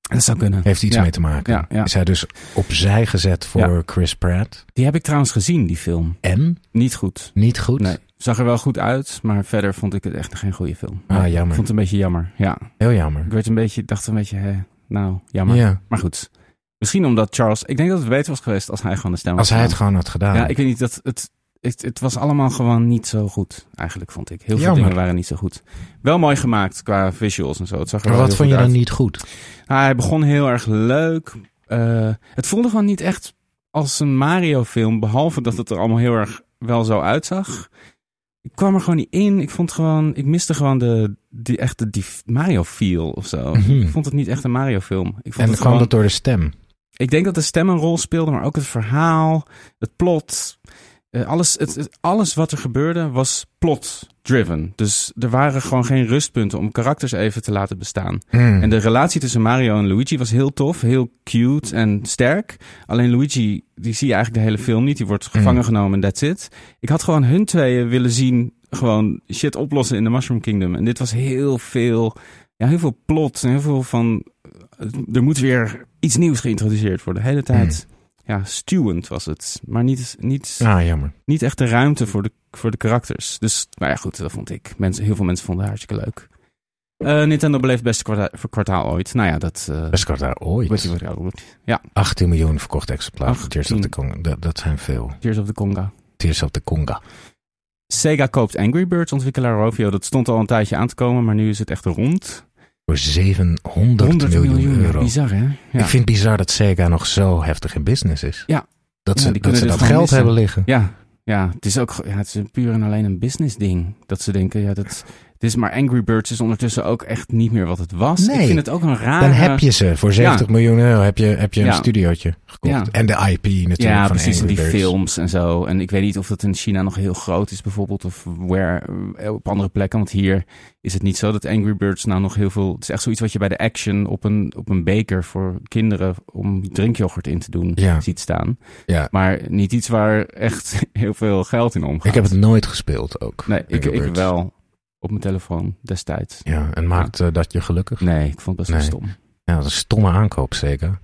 S1: Dat zou kunnen.
S2: Heeft iets
S1: Ja.
S2: mee te maken.
S1: Ja, ja.
S2: Is hij dus opzij gezet voor Chris Pratt.
S1: Die heb ik trouwens gezien, die film.
S2: En?
S1: Niet goed.
S2: Niet goed?
S1: Nee. Zag er wel goed uit, maar verder vond ik het echt geen goede film.
S2: Ah,
S1: Ik
S2: jammer.
S1: vond het een beetje jammer. Ja.
S2: Heel jammer.
S1: Ik werd een beetje, dacht een beetje, hè, nou, jammer.
S2: Ja.
S1: Maar goed. Misschien omdat Charles. Ik denk dat het beter was geweest als hij gewoon de stem
S2: Als
S1: had
S2: hij het
S1: gedaan.
S2: gewoon had gedaan.
S1: Ja, ik weet niet dat het. Het, het was allemaal gewoon niet zo goed, eigenlijk vond ik. Heel veel
S2: Jammer.
S1: dingen waren niet zo goed. Wel mooi gemaakt qua visuals en zo. Het zag er
S2: maar
S1: wel heel
S2: wat vond je
S1: goed
S2: dan
S1: uit.
S2: niet goed?
S1: Ah, hij begon heel erg leuk. Eh, het voelde gewoon niet echt als een Mario-film. Behalve dat het er allemaal heel erg wel zo uitzag. Ik kwam er gewoon niet in. Ik vond gewoon, ik miste gewoon de, die echte die Mario feel of zo.
S2: Mhm.
S1: Ik vond het niet echt een Mario film. Ik vond
S2: En
S1: het
S2: kwam
S1: gewoon,
S2: dat door de stem.
S1: ik denk dat de stem een rol speelde, maar ook het verhaal, het plot. eh, alles, het, het- alles wat er gebeurde was plot-driven. Dus er waren gewoon geen rustpunten om karakters even te laten bestaan. En de relatie tussen Mario en Luigi was heel tof, heel cute en sterk. Alleen Luigi, die zie je eigenlijk de hele film niet. Die wordt gevangen genomen en that's it. Ik had gewoon hun tweeën willen zien gewoon shit oplossen in de Mushroom Kingdom. En dit was heel veel, ja, heel veel plot en heel veel van... eh, Er moet weer iets nieuws geïntroduceerd worden. De hele tijd, ja, stuwend was het. Maar niet, niet,
S2: Ah, jammer.
S1: niet echt de ruimte voor de, voor de karakters. Dus, nou ja, goed, dat vond ik. Mensen, heel veel mensen vonden haar hartstikke leuk. Eh, Nintendo beleeft best kwartaal, kwartaal ooit. Nou ja, dat... eh,
S2: Best kort daar
S1: wordt
S2: ooit.
S1: die wel goed.
S2: 18 miljoen verkochte exemplaren. van Tears of the
S1: 18.
S2: Conga. Dat, dat zijn veel.
S1: Tears of the Conga.
S2: Tears of the Conga.
S1: Sega koopt Angry Birds ontwikkelaar Rovio. Dat stond al een tijdje aan te komen, maar nu is het echt rond.
S2: Voor 700 miljoen, euro.
S1: Bizar, hè? Ja.
S2: Ik vind het bizar dat Sega nog zo heftig in business is.
S1: Ja.
S2: Dat
S1: Ja,
S2: ze
S1: die
S2: dat,
S1: kunnen
S2: ze
S1: dit
S2: dat
S1: gewoon
S2: geld
S1: missen.
S2: hebben liggen.
S1: ja, ja, het is ook ge- ja, het is puur en alleen een business ding. Dat ze denken, ja, dat, het is maar Angry Birds is ondertussen ook echt niet meer wat het was.
S2: Nee.
S1: Ik vind het ook een rare...
S2: Dan heb je ze. Voor 70 miljoen euro heb je, heb je een
S1: Ja.
S2: studiootje gekocht.
S1: Ja.
S2: En de IP natuurlijk
S1: Ja,
S2: van
S1: precies, en
S2: Angry
S1: die
S2: Birds.
S1: films en zo. En ik weet niet of dat in China nog heel groot is bijvoorbeeld, of where, eh, op andere plekken. Want hier is het niet zo dat Angry Birds nou nog heel veel... Het is echt zoiets wat je bij de action op een, op een beker voor kinderen om drinkyoghurt in te doen
S2: Ja.
S1: ziet staan.
S2: Ja.
S1: Maar niet iets waar echt heel veel geld in omgaat.
S2: Ik heb het nooit gespeeld ook.
S1: Nee, ik,
S2: Angry
S1: ik
S2: Birds.
S1: wel op mijn telefoon destijds.
S2: Ja, en maakt eh, dat je gelukkig?
S1: Nee, ik vond het best wel
S2: Nee.
S1: stom.
S2: Ja, dat is een stomme aankoop zeker.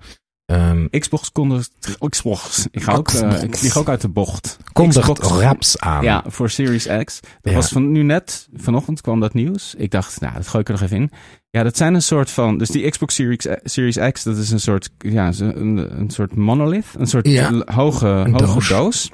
S2: Ehm
S1: Xbox kondigt... Xbox. Ik ga ook, eh, ik vlieg ook uit de bocht.
S2: kondigt
S1: Xbox-
S2: raps aan.
S1: Ja, voor Series X. Dat
S2: Ja.
S1: was van nu net, vanochtend kwam dat nieuws. Ik dacht, nou, dat gooi ik er nog even in. Ja, dat zijn een soort van. Dus die Xbox Series, Series X, dat is een soort, ja, zo- een, een soort monolith. Een soort
S2: Ja.
S1: l- hoge,
S2: Een
S1: hoge
S2: doos.
S1: doos.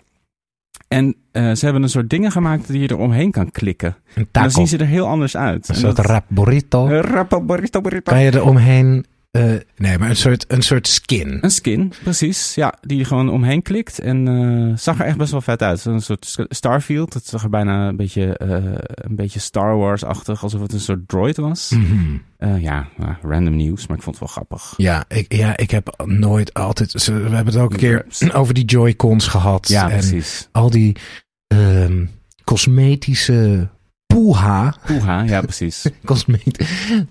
S1: En eh, ze hebben een soort dingen gemaakt die je er omheen kan klikken.
S2: Een
S1: En dan
S2: taco.
S1: zien ze er heel anders uit.
S2: Een
S1: En
S2: soort
S1: dat-
S2: rap burrito.
S1: Eh, rappa, barista, barista.
S2: Kan je er omheen... eh, nee, maar een soort, een soort skin.
S1: Een skin, precies. Ja, die je gewoon omheen klikt. En eh, zag er echt best wel vet uit. Een soort s- Starfield. Het zag er bijna een beetje, eh, een beetje Star Wars-achtig. Alsof het een soort droid was.
S2: Mhm.
S1: Eh, ja, nou, random nieuws. Maar ik vond het wel grappig.
S2: Ja ik, ja, ik heb nooit altijd... ze- We hebben het ook een keer
S1: Raps.
S2: over die Joy-Cons gehad.
S1: Ja,
S2: en
S1: precies.
S2: al die ehm, cosmetische poeha.
S1: Poeha, ja, precies.
S2: Cosmet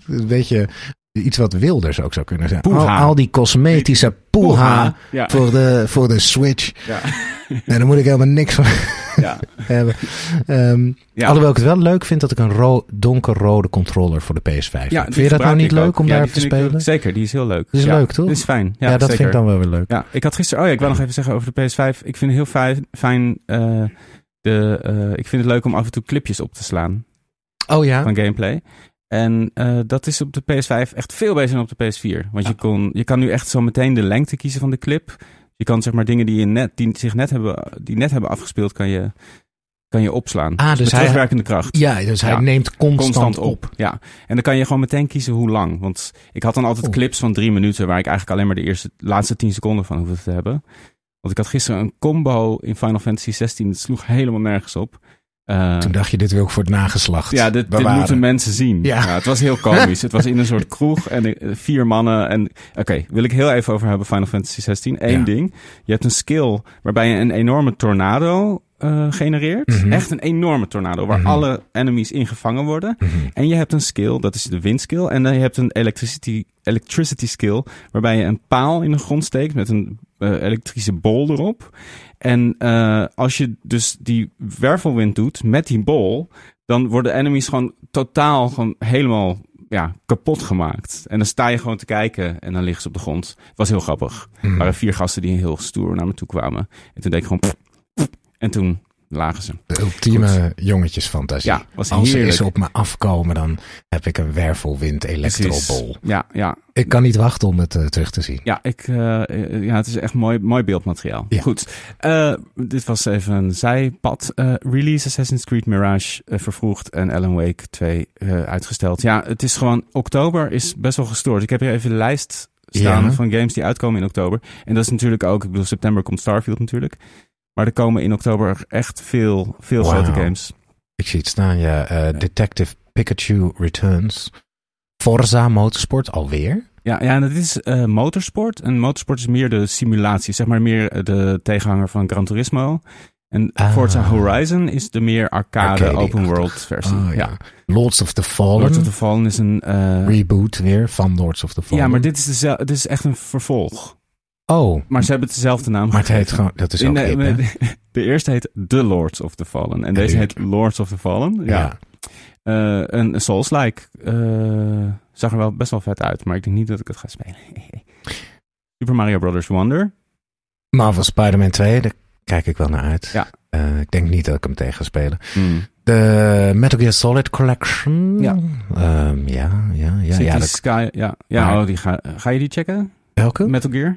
S2: een beetje iets wat wilders ook zou kunnen zijn. Al,
S1: Poeha.
S2: al die cosmetische poeha
S1: Ja,
S2: voor de, voor de Switch.
S1: ja,
S2: En daar moet ik helemaal niks van
S1: ja.
S2: hebben. Ehm,
S1: Ja.
S2: Alhoewel ik het wel leuk vind dat ik een ro donkerrode controller voor de PS5
S1: Ja,
S2: heb.
S1: die
S2: Vind je dat nou
S1: gebruik
S2: niet
S1: ik
S2: leuk
S1: ook.
S2: om
S1: Ja,
S2: daar
S1: die
S2: te
S1: vind ik-
S2: spelen?
S1: Zeker, die is heel leuk.
S2: Dat is
S1: ja,
S2: leuk, toch?
S1: Dat is fijn. Ja,
S2: ja, dat
S1: zeker.
S2: vind ik dan wel weer leuk.
S1: Ja, ik had gisteren. Oh ja, ik wil nog even zeggen over de PS5. Ik vind het heel fijn. fijn eh, de, eh, ik vind het leuk om af en toe clipjes op te slaan
S2: Oh ja?
S1: van gameplay. En eh, dat is op de PS5 echt veel beter dan op de PS4. Want je, kon, je kan nu echt zo meteen de lengte kiezen van de clip. Je kan zeg maar dingen die, je net, die zich net hebben, die net hebben afgespeeld, kan je, kan je opslaan.
S2: Ah, dus
S1: met
S2: hij-
S1: terugwerkende kracht
S2: Ja, dus hij
S1: Ja.
S2: neemt constant,
S1: constant
S2: op.
S1: op. Ja. En dan kan je gewoon meteen kiezen hoe lang. Want ik had dan altijd
S2: Oh.
S1: clips van drie minuten waar ik eigenlijk alleen maar de eerste, laatste tien seconden van hoefde te hebben. Want ik had gisteren een combo in Final Fantasy 16. Het sloeg helemaal nergens op. Eh,
S2: Toen dacht je, dit wil ik voor het nageslacht
S1: ja, dit, dit
S2: bewaren.
S1: moeten mensen zien.
S2: Ja.
S1: Ja. het was heel komisch. het was in een soort kroeg en eh, vier mannen. En oké, wil ik heel even over hebben Final Fantasy 16. Eén
S2: Ja.
S1: ding. Je hebt een skill waarbij je een enorme tornado eh, genereert.
S2: Mhm.
S1: Echt een enorme tornado waar
S2: Mhm.
S1: alle enemies in gevangen worden.
S2: Mhm.
S1: En je hebt een skill, dat is de windskill. En dan je hebt een electricity, electricity skill, waarbij je een paal in de grond steekt met een eh, elektrische bol erop. En eh, als je dus die wervelwind doet met die bol, dan worden enemies gewoon totaal gewoon helemaal ja, kapot gemaakt. En dan sta je gewoon te kijken en dan liggen ze op de grond. Het was heel grappig. Er waren vier gasten die heel stoer naar me toe kwamen. En toen deed ik gewoon... en toen lagen ze.
S2: De ultieme jongetjesfantasie.
S1: Ja, was
S2: Als ze
S1: heerlijk.
S2: eens op me afkomen, dan heb ik een wervelwind elektrobol.
S1: Precies. Ja, ja,
S2: Ik kan niet wachten om het eh, terug te zien.
S1: Ja, ik, eh, eh, ja, het is echt mooi, mooi beeldmateriaal.
S2: Ja.
S1: Goed, Eh, dit was even een zijpad. Eh, release Assassin's Creed Mirage eh, vervroegd en Alan Wake 2 eh, uitgesteld. Ja, het is gewoon, oktober is best wel gestoord. Ik heb hier even de lijst staan
S2: Ja.
S1: van games die uitkomen in oktober. En dat is natuurlijk ook, ik bedoel, september komt Starfield natuurlijk. Maar er komen in oktober echt veel, veel
S2: Wauw.
S1: grote games.
S2: Ik zie het staan, ja. eh, Detective Pikachu Returns. Forza Motorsport alweer.
S1: Ja, ja en dit is eh, motorsport. En motorsport is meer de simulatie, zeg maar meer eh, de tegenhanger van Gran Turismo. En
S2: Ah.
S1: Forza Horizon is de meer arcade,
S2: Arcade-achtig.
S1: open world versie.
S2: Oh, ja. Lords of the Fallen.
S1: Ah, Lords of the Fallen is een... eh,
S2: Reboot weer van Lords of the Fallen.
S1: ja, maar dit is, dezel- dit is echt een vervolg.
S2: Oh,
S1: Maar ze hebben het dezelfde naam
S2: maar het heet
S1: gegeven.
S2: gewoon... Dat is ook
S1: Nee,
S2: hip,
S1: nee,
S2: hè?
S1: de, de eerste heet The Lords of the Fallen. En deze heet Lords of the Fallen. Ja.
S2: Ja.
S1: Eh, een Souls-like eh, zag er wel best wel vet uit, maar ik denk niet dat ik het ga spelen. Super Mario Brothers Wonder.
S2: Marvel Spider-Man 2, daar kijk ik wel naar uit.
S1: Ja.
S2: Eh, ik denk niet dat ik hem tegen ga spelen.
S1: Hmm.
S2: De Metal Gear Solid Collection.
S1: Ja.
S2: Ehm, ja, ja, ja.
S1: City
S2: ja dat-
S1: Sky, ja. ja
S2: Maar-
S1: oh, die ga, ga je die checken?
S2: welke?
S1: Metal Gear?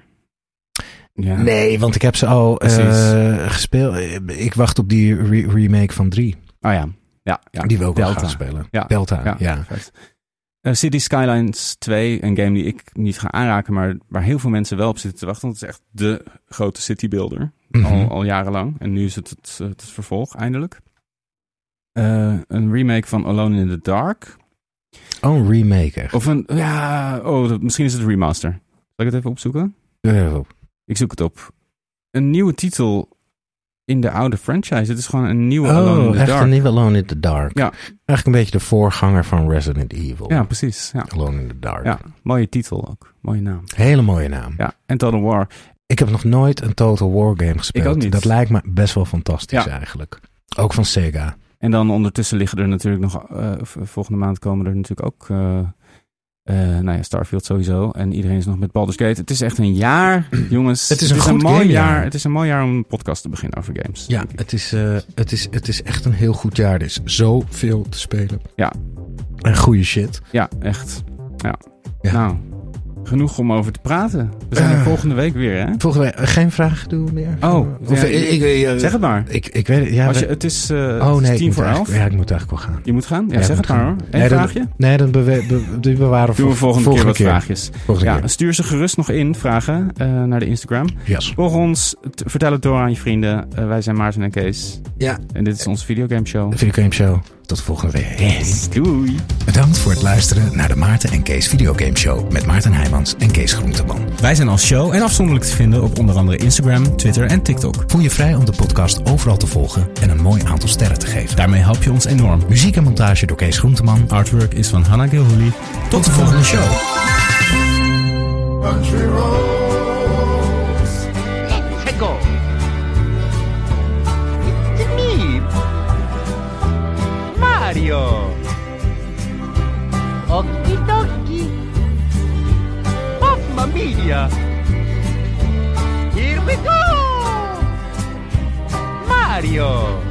S1: Ja.
S2: Nee, want ik heb ze al eh,
S1: Precies.
S2: gespeeld. Ik wacht op die re- remake van 3.
S1: Oh ja. ja, ja.
S2: Die wil ik wel
S1: Delta.
S2: gaan spelen.
S1: Ja.
S2: Delta, ja.
S1: vet. Eh, City Skylines 2, een game die ik niet ga aanraken, maar waar heel veel mensen wel op zitten te wachten. Want het is echt de grote citybuilder.
S2: Mhm.
S1: al, al jarenlang. En nu is het het, eh, het vervolg, eindelijk. Eh, een remake van Alone in the Dark.
S2: Oh, een remake echt.
S1: Of een, ja, oh, dat- misschien is het een remaster. Zal ik het even opzoeken?
S2: Eh,
S1: Ik zoek het op. Een nieuwe titel in de oude franchise. Het is gewoon een nieuwe Alone in
S2: Oh,
S1: the
S2: echt
S1: Dark.
S2: een nieuwe Alone in the Dark.
S1: Ja.
S2: Eigenlijk een beetje de voorganger van Resident Evil.
S1: Ja, precies. Ja.
S2: Alone in the Dark.
S1: ja, mooie titel ook. Mooie naam.
S2: Hele mooie naam.
S1: Ja, en Total War.
S2: Ik heb nog nooit een Total War game gespeeld.
S1: ook niet.
S2: Dat lijkt me best wel fantastisch
S1: Ja.
S2: eigenlijk. Ook van Sega.
S1: En dan ondertussen liggen er natuurlijk nog, eh, v- volgende maand komen er natuurlijk ook, eh, eh, nou ja, Starfield sowieso. En iedereen is nog met Baldur's Gate. Het is echt een jaar, jongens.
S2: Het is een goed
S1: mooi
S2: gamejaar.
S1: jaar. Het is een mooi jaar om een podcast te beginnen over games.
S2: Ja,
S1: denk ik.
S2: het is, eh, het, is, het is echt een heel goed jaar. Er is zoveel te spelen.
S1: Ja.
S2: En goede shit.
S1: ja echt. Ja.
S2: Ja.
S1: Nou, genoeg om over te praten. We zijn er
S2: Eh.
S1: volgende week weer, hè?
S2: Volgens mij, eh, geen vraag doen meer?
S1: Oh,
S2: Of,
S1: ja,
S2: eh, ik, eh, eh,
S1: Zeg het maar.
S2: Ik, ik weet het. Ja,
S1: Als
S2: we-
S1: je, het is eh,
S2: oh
S1: het is
S2: nee, ik
S1: tien
S2: moet
S1: voor elf.
S2: eigenlijk- Ja, ik moet eigenlijk wel gaan.
S1: Je moet gaan? Ja,
S2: Ja,
S1: zeg
S2: ik
S1: het
S2: moet
S1: maar hoor.
S2: gaan.
S1: Eén
S2: Nee, dan-
S1: vraagje?
S2: Nee, dan bewe- be- die bewaren
S1: Doen we volgende, keer wat vraagjes.
S2: Volgende
S1: Ja,
S2: keer.
S1: stuur ze gerust nog in, vragen, eh, naar de Instagram.
S2: Yes.
S1: Volg ons, t- vertel het door aan je vrienden. Eh, wij zijn Maarten en Kees.
S2: Ja.
S1: En dit is onze videogame show.
S2: De Videogame Show. Tot volgende week.
S1: Doei!
S2: Bedankt voor het luisteren naar de Maarten en Kees Videogame Show met Maarten Heijmans en Kees Groenteman.
S3: Wij zijn als show en afzonderlijk te vinden op onder andere Instagram, Twitter en TikTok.
S2: Voel je vrij om de podcast overal te volgen en een mooi aantal sterren te geven.
S3: Daarmee help je ons enorm.
S2: Muziek en montage door Kees Groenteman.
S3: Artwork is van Hannah Gilhooly.
S2: Tot de volgende show.
S4: country roads. Let's go. It's me, Mario. Okie dokie. Mamma mia. Here we go. Mario.